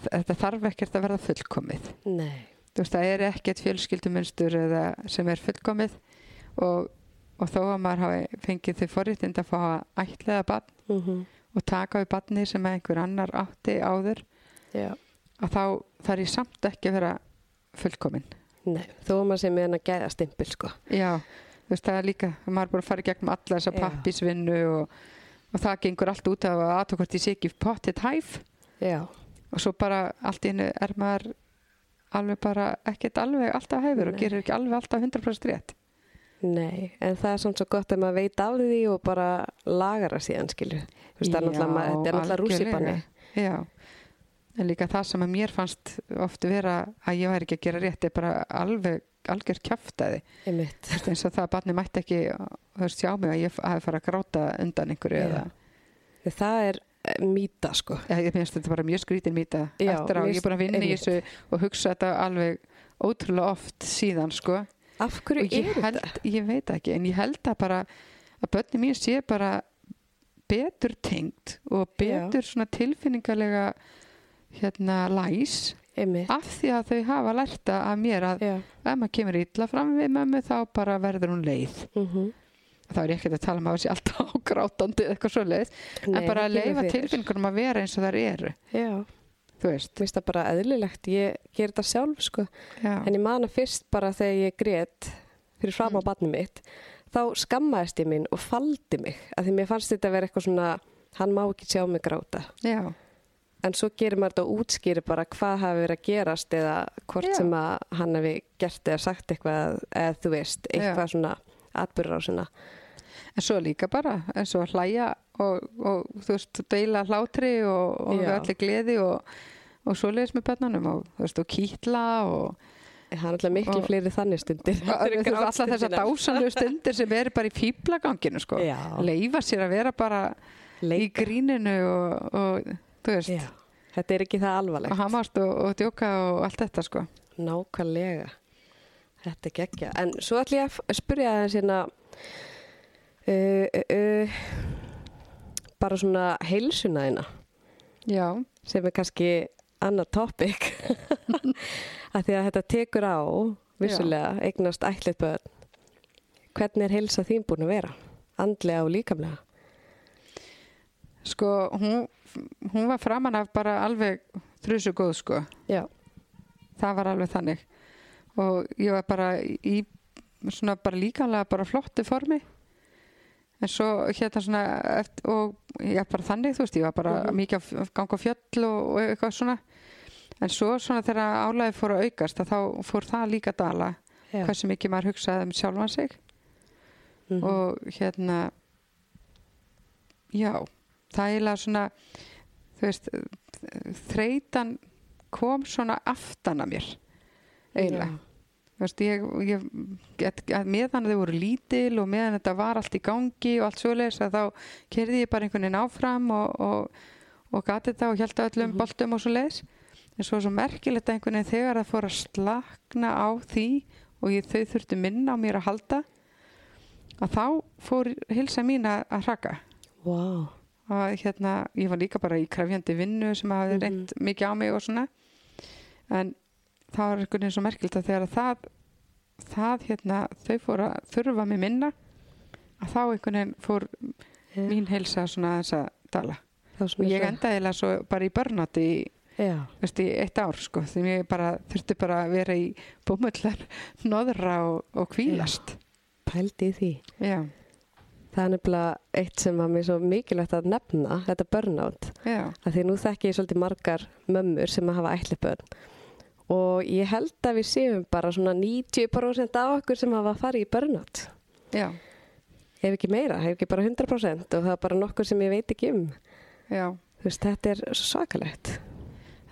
þetta þarf ekkert að verða fullkomið,
nei,
þú veist, það er ekkert fjölskyldumunstur eða sem er fullkomið og, og þó að maður hafi fengið þau forréttind að fá að ætlaða barn
mm
og taka við barni sem að einhver annar átti áður
já,
að þá þarf ég samt ekki að vera fullkomin.
nei, þó að maður sem er hennar gæðastimpil, sko.
Já, þú veist það er líka, maður er bara að fara í gegnum alla þessa
Já.
pappisvinnu og, og það gengur allt út af að aðtökkvort ég sé ekki pottet hæf
Já,
og svo bara allt í einu er maður alveg bara ekkert alveg alltaf hæfur og
Nei.
gerir ekki alveg alltaf 100% rétt.
nei, en það er samt svo gott að maður veit af því og bara lagara síðan, skilju. Þú veist, það er
Já,
náttúrulega, maður- þetta er náttúrulega
algjörlega.
rússipanni.
Já, en líka það sem að mér fannst oft vera að ég væri ekki að gera rétt er bara alveg algjör kjaftaði
Einmitt.
Þú veist, eins og það að barni mætti ekki þú veist, sjá mig að ég hafi farið að gráta undan einhverju
Já.
eða,
Það er eh, mýta, sko.
eða ég finnst þetta bara mjög skrítin mýta
Já,
eftir á,
mér
ég er búin að vinna í
einmitt.
þessu og hugsa þetta alveg ótrúlega oft síðan sko
Af hverju
og ég
er
held,
þetta?
ég veit það ekki en ég held að bara að börni mín sé bara betur tengt og betur svona tilfinningalega hérna læs
Einmitt.
af því að þau hafa lært það af mér að
Já.
ef maður kemur illa fram við mömmu þá bara verður hún leið
Mm
þá er ég ekkert að tala um að það sé alltaf ágrátandi eða eitthvað svo leiðis, en bara að leifa tilfinningunum að vera eins og þær eru,
Já, mér
þú veist
finnst það bara eðlilegt. Ég ger þetta sjálf, sko.
já,
En ég man að fyrst bara þegar ég grét fyrir fram
Mm.
á barnið mitt, þá skammaðist ég mín og faldi mig. Af því mér fannst þetta að vera eitthvað svona, hann má ekki sjá mig gráta.
já,
En svo gerir maður þetta og útskýrir bara hvað hafi verið að gerast eða hvort
Já.
sem að hann hafi gert eða sagt eitthvað eða þú veist, eitthvað svona atbyrður á svona.
en svo líka bara eins og að hlæja og, og þú veist, deila hlátri og, og
Já.
allir gleði og, og svo leiðis með börnunum og þú veist, og kýtla og
Það er alltaf miklu
Og-
fleiri þannig stundir.
þú veist, alla þessar dásanlegu stundir sem eru bara í fíblaganginu, sko
Já.
leifa sér að vera bara í
Leik.
gríninu og, og þú veist,
Já. Þetta er ekki það alvarlegt.
og hamast og, og djóka og allt þetta, sko
Nákvæmlega. Þetta er geggja. En svo ætlum ég að f- spyrja það hérna uh, uh, uh, bara svona heilsuna þína
Já,
sem er kannski annað topic að því að þetta tekur á vissulega eignast ætlið börn. Hvernig er heilsa þín búin að vera? Andlega og líkamlega?
Sko, hún, hún var framan af bara alveg þrjusu góð, sko.
Já.
Það var alveg þannig. Og ég var bara í svona bara líkanlega bara flottu formi. En svo hérna svona, eft- og ég var bara þannig, þú veist, ég var bara
Mhm.
mikið að ganga á fjöll og, og eitthvað svona. En svo svona þegar álæði fór að aukast, að þá fór það líka að dala.
Já.
Hversu mikið maður hugsaði um sjálfan sig
Mhm.
og hérna já, það er eiginlega svona þú veist þreytan kom svona aftan að mér eiginlega, þú veist ég, ég get, að meðan þau voru lítil og meðan þetta var allt í gangi og allt svoleiðis að þá kerði ég bara einhvern veginn áfram og, og, og gati þetta og held að öllum
Mhm.
boltum og svoleiðis en svo er svo merkilegt einhvern veginn þegar það fór að slakna á því og ég, þau þurftu minna á mér að halda að þá fór hilsa mín að að hraka
Vá.
Að að hérna, ég var líka bara í krefjandi vinnu sem hafði
Mhm.
reynt mikið á mig og svona en það var einhvern veginn svo merkilt að þegar að það það hérna, þau fór að þurfa mig minna að þá einhvern veginn fór
Já.
mín heilsa svona þess að dala
þá
og
svona
ég
svo-
endaði eiginlega svo bara í börnátt í
já,
veist, í eitt ár sko, því ég bara þurfti bara að vera í bómullar, nóðra og, og kvílast.
pældi í því
Já,
það er nefnilega eitt sem var mér svo mikilvægt að nefna þetta burnout,
já,
að því nú þekki ég svolítið margar mömmur sem að hafa ætli börn og ég held að við séum bara svona 90% af okkur sem hafa farið í burnout
já,
ef ekki meira, ef ekki bara 100% og það er bara nokkur sem ég veit ekki um
já.
þú veist, þetta er svo svakalegt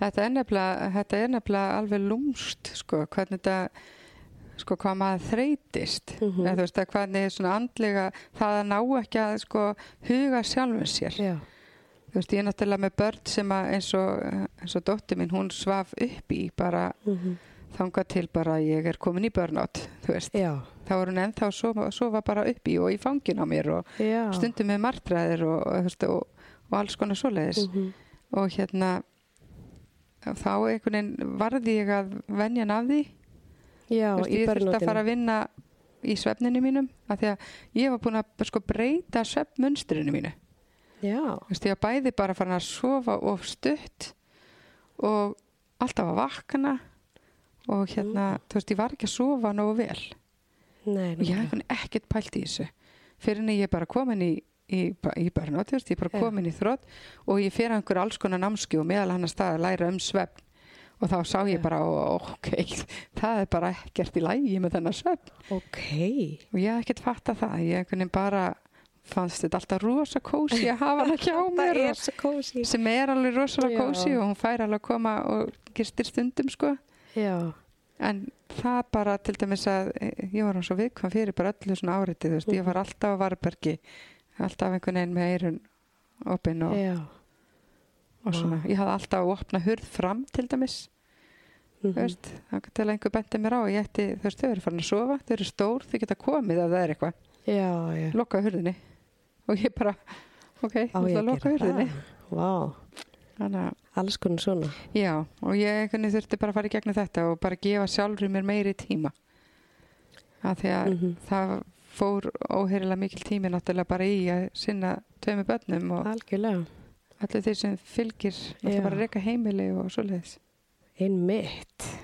Þetta er nefnilega, þetta er nefnilega alveg lúmst, sko, hvernig þetta, sko, hvað maður þreytist.
Mhm.
Eða þú veist, að hvernig svona andlega, það að ná ekki að, sko, huga sjálfum sér.
já,
Þú veist, ég er náttúrulega með börn sem að eins og, eins og dóttir mín, hún svaf upp í bara
Mhm.
þangað til bara að ég er komin í börnátt, þú veist.
já,
þá er hún ennþá að sofa, sofa bara upp í og í fangin á mér og
já.
stundum með martræðir og, og, þú veist, og, og alls konar svoleiðis
Mhm.
og hérna þá einhvern veginn varði ég að venjan af því
já,
Þú veist,
í
ég þurfti að
börnótinu
fara að vinna í svefninu mínum af því að ég var búin að sko breyta svefnmunstrinu mínu
já,
Þú veist, ég var bæði bara farin að sofa of stutt og alltaf að vakna og hérna,
Mm.
þú veist, ég var ekki að sofa nógu vel
nei,
og ég
nákvæmlega.
hafði einhvern veginn ekkert pælt í þessu fyrir en ég er bara komin í í, ba- í barnátt, ég er bara
Já.
komin í þrótt og ég fer að einhver alls konar námski og meðal hann að staða að læra um svefn og þá sá ég
Já.
bara, ó, ok það er bara ekkert í lægi með þennan svefn
ok,
og ég hafði ekkert fatta það, ég einhvern veginn bara fannst þetta alltaf rosa kósi að hafa hana hjá
það
mér
er svo kósi
og- sem er alveg
Já.
rosalega kósi og hún fær alveg að koma og gistir stundum sko
já,
En það bara til dæmis að eh, ég var hann svo viðkvæm fyrir bara öllu svona áritið, þú veist, ég var alltaf á varbergi, alltaf einhvern veginn með eirun opinn og,
já Mhm.
og svona.
Vá.
Ég hafði alltaf að opna hurð fram til dæmis,
Mhm.
þú veist, þá til að einhver bendi mér á, og ég ætti, þú veist, þau eru farin að sofa, þau eru stór, þau geta komið ef það er eitthvað,
já, já
lokaðu hurðinni og ég bara, ok,
Á
þú
ég að
ætla að loka
gera
hurðinni.
það? Vá,
Þannig að
alls konar svona.
Já, og ég einhvern veginn þurfti bara að fara í gegnum þetta og bara gefa sjálfri mér meiri tíma. Af því að
Mhm.
það fór óheirilega mikil tími náttúrulega bara í að sinna tveimur börnum og
Algjörlega.
allir þeir sem fylgir
Já.
náttúrulega bara að reyka heimili og svoleiðis.
Einn mitt.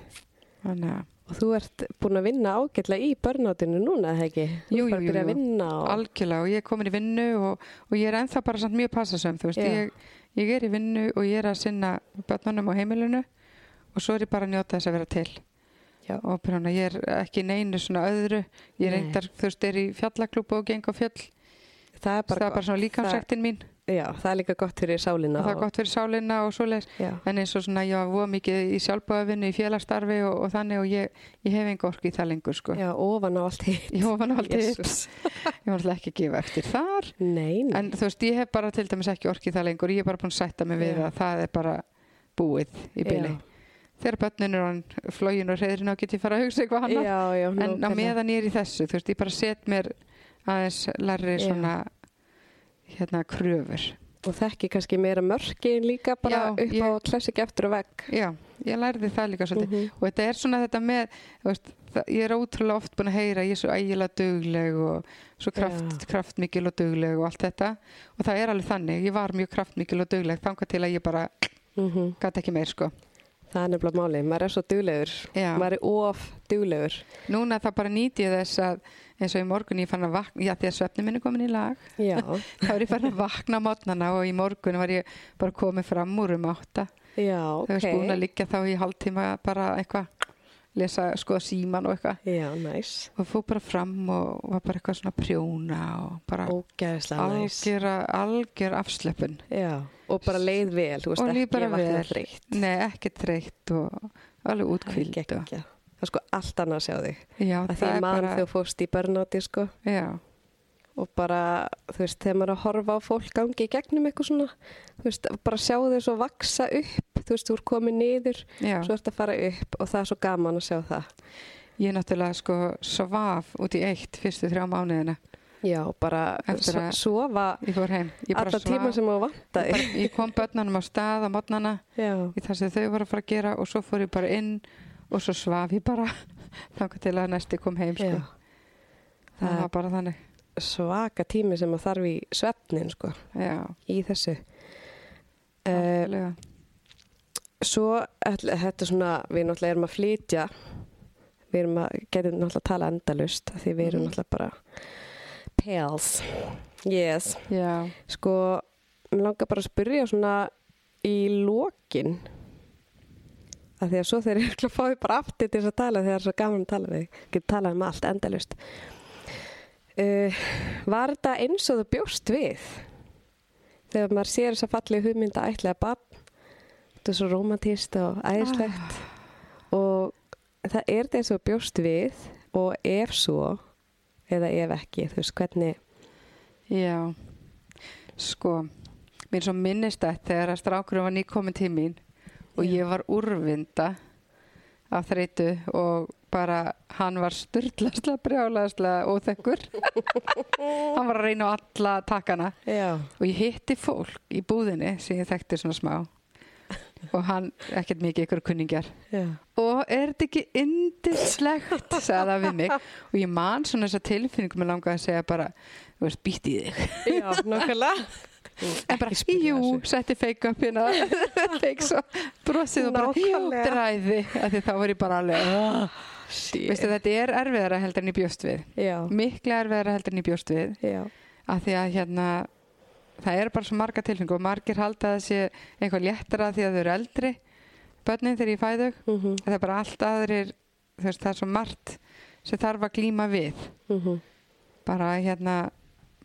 Þannig að
Og þú ert búin að vinna ágætlega í börnáttinu núna, eða ekki? Þú
Jú,
ert bara að
jú,
byrja
jú,
að vinna og...
algjörlega og ég er komin í vinnu og, og ég er ennþá bara samt mjög passasöm, þú veist,
Já.
ég, ég er í vinnu og ég er að sinna börnunum og heimilinu og svo er ég bara að njóta þess að vera til.
Já.
og bara svona, ég er ekki í neinu svona öðru
Nei.
ég reyndar, þú veist, er í fjallaklúbu og geng á fjöll
Það er
það
bara
er bara
gott.
svona líkamsræktin mín
Já, það er líka gott fyrir sálina.
og það er gott fyrir sálinna og svoleiðis
Já,
en eins og svona, ég var voða mikið í sjálfbóðavinnu í félagsstarfi og, og þannig og ég, ég hef engu orku í það lengur sko.
já, ofan á allt hitt.
ég hófa náttúrulega ég
Jesus.
var náttúrulega ekki að gefa eftir þar
Nei, nei.
en þú veist, ég hef bara til dæmis ekki orku í það lengur ég er bara búin að sætta mig við
Já.
að það er bara búið í byli þegar börnin er hann flógin og reyðrin á get ég fara að hugsa eitthvað annað
Já, já, já.
en á
nákvæmlega.
meðan ég er í þessu þú veist, ég bara set mér aðeins larri
Já.
svona hérna kröfur
Og þekki kannski meira mörkin líka bara
Já,
upp
ég-
á klassik eftir og vegg.
já, ég lærði það líka svolítið
Mhm.
og þetta er svona þetta með þú veist, það, ég er ótrúlega oft búin að heyra ég er svo ægilega dugleg og svo kraft, kraftmikil og dugleg og allt þetta og það er alveg þannig, ég var mjög kraftmikil og dugleg þangað til að ég bara
Mhm.
gæti ekki meir sko
Það er nefnilega málið. Maður er svo duglegur.
já.
Maður er of duglegur.
núna það bara nýti ég þess að eins og í morgun ég fann að vakna já því að svefni minni komin í lag
Já,
þá er ég farin að vakna á mótnana og í morgun var ég bara komið fram úr um átta
já, ok.
okay. þegar spúin að liggja þá í hálftíma bara eitthvað lesa skoða síman og eitthvað
Já, næs.
og fór bara fram og var bara eitthvað svona að prjóna og bara
Ógæðislega næs.
algjör, algjör afslöpun
Já, og bara leið vel, þú veist
Og líður
ekki
bara
að vakna
vel.
þreytt.
nei ekki þreytt og alveg útkvíld
Ekki,
og,
ekki. Það er sko allt annað að sjá þig.
já,
Að því
það
mann
er bara
bara... þegar þú fórst í börnáti, sko.
já,
Og bara, þú veist, þegar maður er að horfa á fólk gangi í gegnum eitthvað svona, þú veist, bara sjá þau svo vaksa upp, þú veist, þú er komið niður,
já.
svo ert að fara upp og það er svo gaman að sjá það.
ég náttúrulega sko svaf út í eitt fyrstu þrjá mánuðina
Já, bara
Eftir
so-
að-
sofa
Ég fór heim. Ég bara
alla
svaf.
tíma sem þú vantaði.
Bara- Ég kom börnunum á stað á modnana
Já,
í það sem þau voru að fara að gera og svo fór ég bara inn og svo svaf ég bara þangað til að næsti kom heim sko.
já.
það
Það-
var bara þannig
Svaka tími sem að þarf í svefnin, sko,
já,
í þessu. Uh,
algjörlega.
svo ætla, þetta er svona, við náttúrulega erum að flytja við erum að, getum náttúrulega að tala endalust því við erum
Mhm.
náttúrulega bara pals yes,
já,
sko mér langar bara að spyrja svona í lokin að því að svo þeir eru að fá því bara aftur til þess að tala þegar það er svo gaman að tala við þig. getum talað um allt endalust uh, var þetta eins og þú bjóst við þegar maður sér þess að falli hugmynda ætlaða bann þetta er svo romantist og æðislegt Ah. og það er þetta eins og þú bjóst við og ef svo eða ef ekki, þú veist hvernig
já sko, mér er svo minnist þetta þegar að strákurinn var nýkomin til mín og
Já.
ég var úrvinda af þreytu og bara hann var styrlaslega brjálaslega óþekkur hann var að reyna á alla takkana
já,
og ég hitti fólk í búðinni sem ég þekkti svona smá og hann, ekkert mikið ykkur kunningjar
já,
og er þetta ekki indislegt sagði það við mig og ég man svona þessa tilfinningu mér langaði að segja bara, þú veist, býtt í þig
já nokkulega
en bara,
spyrja
jú, setti fake up hérna fake svo, brosið og bara, jú,
Nákvæmlega.
dræði af því þá var ég bara alveg "Ah."
sí.
veistu, þetta er erfiðara heldur en ég bjóst við
já,
miklu erfiðara heldur en ég bjóst við
já,
að því að hérna það eru bara svo marga tilfengu og margir halda að það sé eitthvað léttara því að þau eru eldri börnin þegar ég fæðu
mm -hmm,
það er bara allt aðrir þú veist, það er svo margt sem þarf að glíma við
mhm.
bara hérna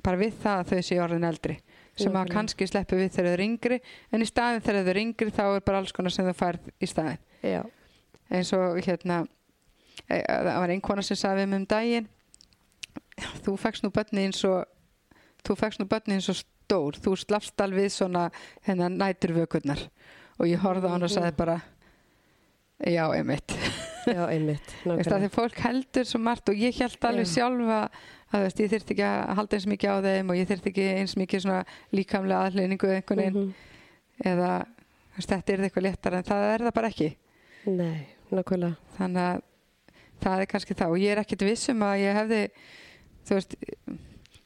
bara við það að þau séu orðin eldri sem að
Nákvæmlega.
kannski sleppu við þegar þau eru yngri en í staðin þegar þau eru yngri þá er bara alls konar sem þau færð í staðin
já,
eins og hérna e, að- það var einhverna sem sagði við mig um daginn þú fækst nú bönni eins og þú fækst nú bönni eins og stór þú slafst alveg svona hérna nætur vökunnar og ég horfði á hann og sagði bara já, einmitt
já, einmitt
Veist að
nákvæmlega.
þegar fólk heldur svo margt og ég held alveg
Já.
sjálfa að þú veist, ég þyrfti ekki að halda eins mikið á þeim og ég þyrfti ekki eins mikið svona líkamlega aðlýningu einhvern veginn
Mhm.
eða þú veist, þetta er eitthvað léttar en það er það bara ekki
nei, nákvæmlega
þannig að það er kannski það og ég er ekkit viss um að ég hefði þú veist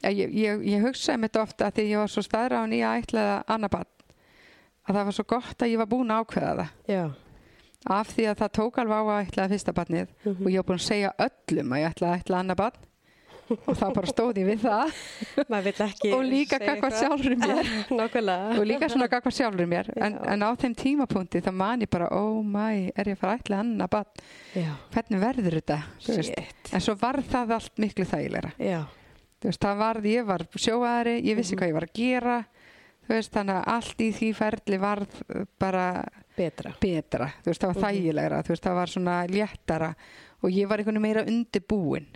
að ég, ég, ég hugsaði mitt ofta að því ég var svo staðrán í að ætlaða annabat að það var svo gott að ég var búin að ákveða það
já,
af því að það tók alveg á að ætlaða fyrsta batnið
mhm.
og ég var búin að segja öllum að ég ætlaði að ætlaða annabat og það bara stóð ég við það
maður vill ekki
og líka
segja
gagvað
eitthvað.
sjálfur mér
nákvæmlega
og líka svona gagvað sjálfur mér en,
Já.
en á þeim tímapunkti þá man ég bara oh my, er ég að fara að ætla annabat
já,
hvernig verður þetta Þú veist,
shit
En svo var það allt miklu þægilegra.
já,
Þú veist, það varð, ég var sjóaðari, ég vissi
Mhm.
hvað ég var að gera, þú veist, þannig að allt í því ferli varð uh, bara
betra
betra, þú veist, það var
Mhm.
þægilegra, þú veist, það var svona léttara og ég var einhvern veginn meira undirbúin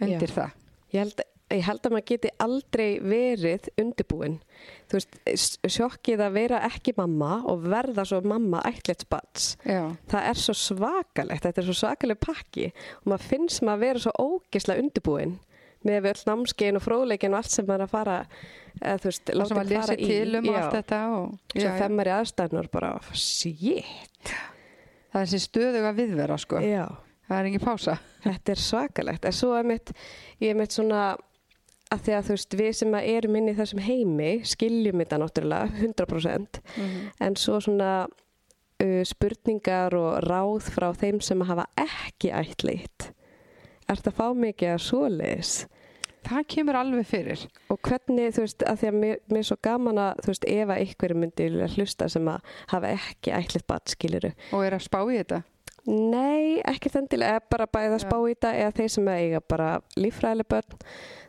undir það.
Ég held, ég held að maður geti aldrei verið undirbúin. Þú veist, s- sjokkið að vera ekki mamma og verða svo mamma ætliðsbats.
Já,
Það er svo svakalegt, þetta er svo svakaleg pakki og maður finnst maður að vera svo ógisla undirbúin með við öll námskein og fróðleikin og allt sem maður er að fara, eða, þú veist,
það sem
láta
að
fara
lesi
í.
til um
já,
allt þetta og já,
Svo
já.
fer maður í aðstæðnur bara, shit,
það er þessi stöðuga viðvera, sko.
já.
Það er engin pása.
Þetta er svakalegt. En svo er mitt, ég er mitt svona að því að þú veist, við sem að erum inn í þessum heimi skiljum þetta náttúrulega 100% en svo svona uh, spurningar og ráð frá þeim sem hafa ekki ætlit. Ertu að fá mikið að svoleiðis?
Það kemur alveg fyrir.
Og hvernig, þú veist, að því að mér, mér er svo gaman að, þú veist, ef að ykkur myndi vilja hlusta sem að hafa ekki ætlit batskiliru.
Og er að spá í þetta?
Nei, ekki þendilega, eða bara bæða að spá í þetta eða þeir sem eiga bara líffræðileg börn.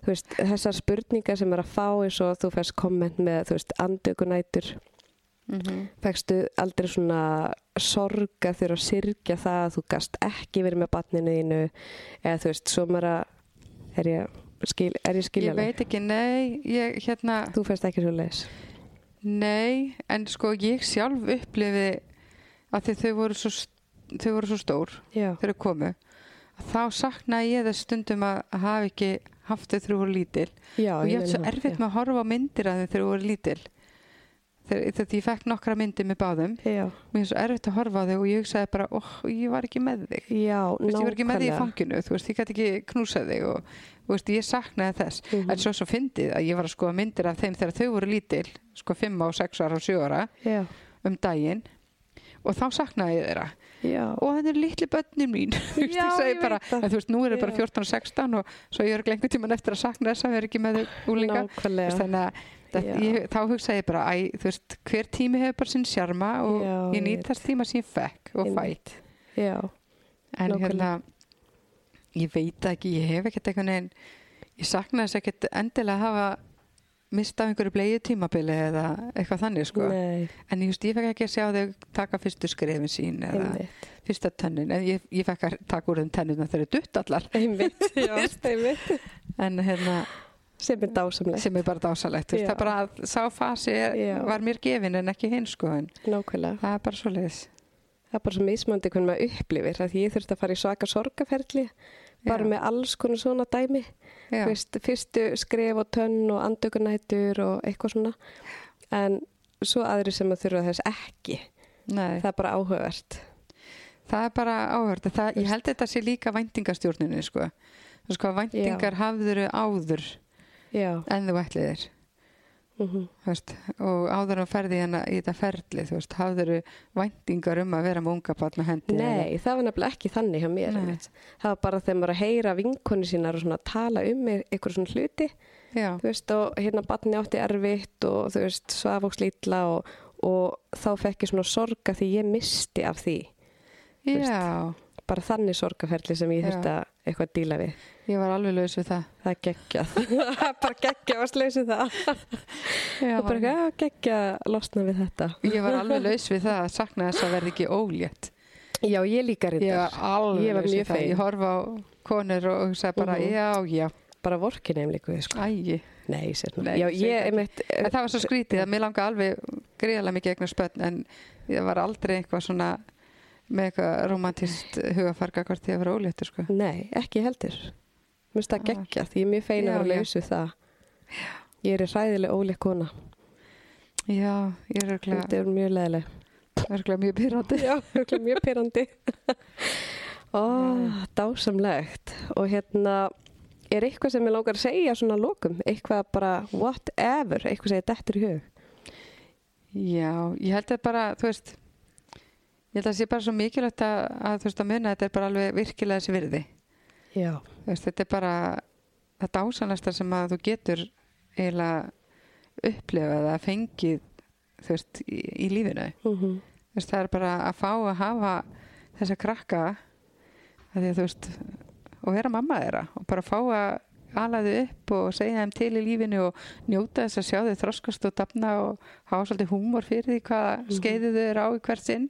Þú veist, þessar spurningar sem er að fá eins og þú fæst komment með, þú veist, andökunætur.
Mm
Mhm.
-hmm.
Fækstu aldrei svona sorga þegar að syrgja það að þú gast ekki verið með barninu þínu eða þú veist, svo maður að, er ég, skil, er ég
Ég
skiljaleg?
veit ekki, nei, ég, hérna...
Þú fæst ekki svo leis.
Nei, en sko ég sjálf upplifi að þau, þau, voru, svo, st- þau voru svo stór
Já,
þau eru komu þá saknaði ég þess stundum að að hafa ekki haft þau þegar þú voru lítil
Já,
og ég hafði svo erfitt
já.
með að horfa á myndir að þeim þegar þú voru lítil þegar, þegar ég fekk nokkra myndir með báðum
Já,
mér er svo erfitt að horfa á þau og ég hugsaði bara oh, ég var ekki með þig
já,
Þú veist, ég var ekki með því í
nákvæmlega.
fanginu, þú veist, ég gæti ekki knúsað þig og, þú veist, ég saknaði þess
Mhm.
en svo svo fyndið að ég var að skoða myndir af þeim þegar þau voru lítil, sko 5 og 6 ára og 7 ára
Já,
um daginn og þá saknaði ég þeirra
já.
og þetta er litli börnin mín Þú veist,
Já,
ég segi
ég
bara,
veit það.
en þú veist, nú er ég bara
Já.
14 og 16 og svo ég er glengu tíman eftir að sakna þess að vera ekki með þau úlinga Þú veist,
Nákvæmlega.
þannig að þetta-
Já.
ég, þá hugsaði ég bara, æ, þú veist, hver tími hefur bara sinn sjarma og
Já,
ég
ég
nýt
veit.
þess tíma sem ég fekk og fæ
Einmitt. Já,
en
Nákvæmlega.
hérna ég veit það ekki, ég hef ekkert einhvern veginn ég sakna þess ekkert endilega að hafa mista af einhverju bleið tímabili eða eitthvað þannig sko
nei,
en ég, just, ég fekk ekki að sjá þau taka fyrstu skrefin sín eða
einmitt.
fyrsta tönnin en ég, ég fekk að taka úr þeim tennina þegar þau dutt allar
Einmitt, já, einmitt.
en hérna
Sem er dásamlegt,
sem er bara dásalegt þú veist,
Já.
það er bara að sá fasi er,
Já.
var mér gefin en ekki hinn sko en
nákvæmlega.
það er bara svo leiðis
Það er bara svo mismandi hvernig maður upplifir að ég þurfti að fara í svaka sorgaferli bara með alls konar svona dæmi
já,
Vist, fyrstu skref og tönn og andökunætur og eitthvað svona en svo aðri sem að þurfa þess ekki
nei,
það er bara áhugavert
Það er bara áhört. Það, ég held þetta sé líka væntingastjórninni, sko. Þú sko, væntingar hafður áður
já,
en þú ætliðir,
mm
þú veist, og áður en þú ferði hérna í þetta ferli, þú veist, hafður væntingar um að vera með unga barn með hendi.
nei, það var nefnilega ekki þannig hjá mér
Nei.
einmitt. það var bara þegar maður er að heyra vinkonu sínar og svona tala um eitthvað svona hluti
Já,
þú veist, og hérna batni átti erfitt og þú veist, svafóks lítla og, og þá fekk ég svona sorga því ég misti af því
já,
veist. bara þannig sorgaferli sem ég
Já.
þurfti að eitthvað að díla við
ég var alveg laus við það.
Það er geggjað. Það er bara geggjað að sleysi það.
Já,
Það er bara
var,
eitthvað, já, geggjað að losna við þetta.
ég var alveg laus við það að sakna þess að verði ekki ólétt.
Já, ég líka
Ég
reyndar.
var alveg
Ég var
laus við
mjög
það.
fegin.
Ég horfa á konur og hugsaði bara,
Mhm.
já, já,
Bara vorkin eða líka við, sko.
ægi.
Nei, sérna.
Nei,
Já,
segir
ég
það
er meitt,
En það var svo skrítið að mér langa alveg greiðlega mikið eignast börn en ég var aldrei eitthvað svona með eitthvað romantist hugafarga hvort ég var óléttur sko.
eh, nei, ekki heldur. Mér finnst það
Ah.
geggjað. Ég er mjög fein
Já,
að vera
já.
laus við það. Ég er ræðileg óleik kona.
Já, ég er örgulega,
Þetta er mjög leðileg.
örgulega mjög pyrrandi.
Já, örugglega mjög pyrrandi. Ó, dásamlegt. Og hérna, er eitthvað sem ég lókar að segja svona að lokum? Eitthvað bara whatever, eitthvað segja dettur í hug?
Já, ég held að bara, þú veist, ég held að það sé bara svo mikilvægt að, að þú veist að muna að þetta er bara alveg virkilega þessi virði.
Já,
Þú veist, þetta er bara það dásanasta sem að þú getur eiginlega upplifað að fengið, þú veist, í, í lífinu.
mm
Þú veist, það er bara að fá að hafa þessa krakka að því að þú veist og vera mamma þeirra og bara fá að ala þau upp og segja þeim til í lífinu og njóta þess að sjá þau þroskast og dafna og hafa svolítið húmor fyrir því hvaða mm
Mhm.
skeiði þau eru á í hvert sinn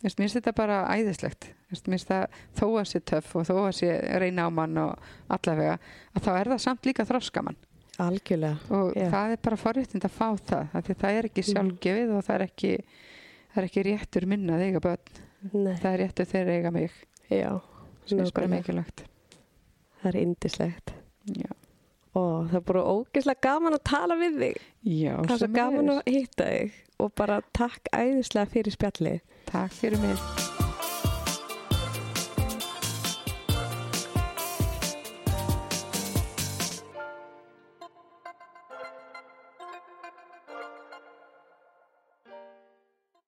Þú veist, minnst þetta bara æðislegt Þú veist, minnst það þó að sé töff og þó að sé reyna á mann og allavega að þá er það samt líka þroskamann
algjörlega.
og
Já.
það er bara forréttind að fá það af því að það er ekki
Mhm.
sjálfgefið og það er ekki það er ekki réttur minna að eiga börn
Nei.
það er réttur þeirra að eiga mig
Já,
sem er bara
nákvæmlega.
mikilvægt
það er indislegt.
já,
Ó, það er bara ógeðslega gaman að tala við þig.
já
Það er svo
sömuleiðis.
gaman að hitta þig og bara takk æðislega fyrir spjallið.
takk fyrir mig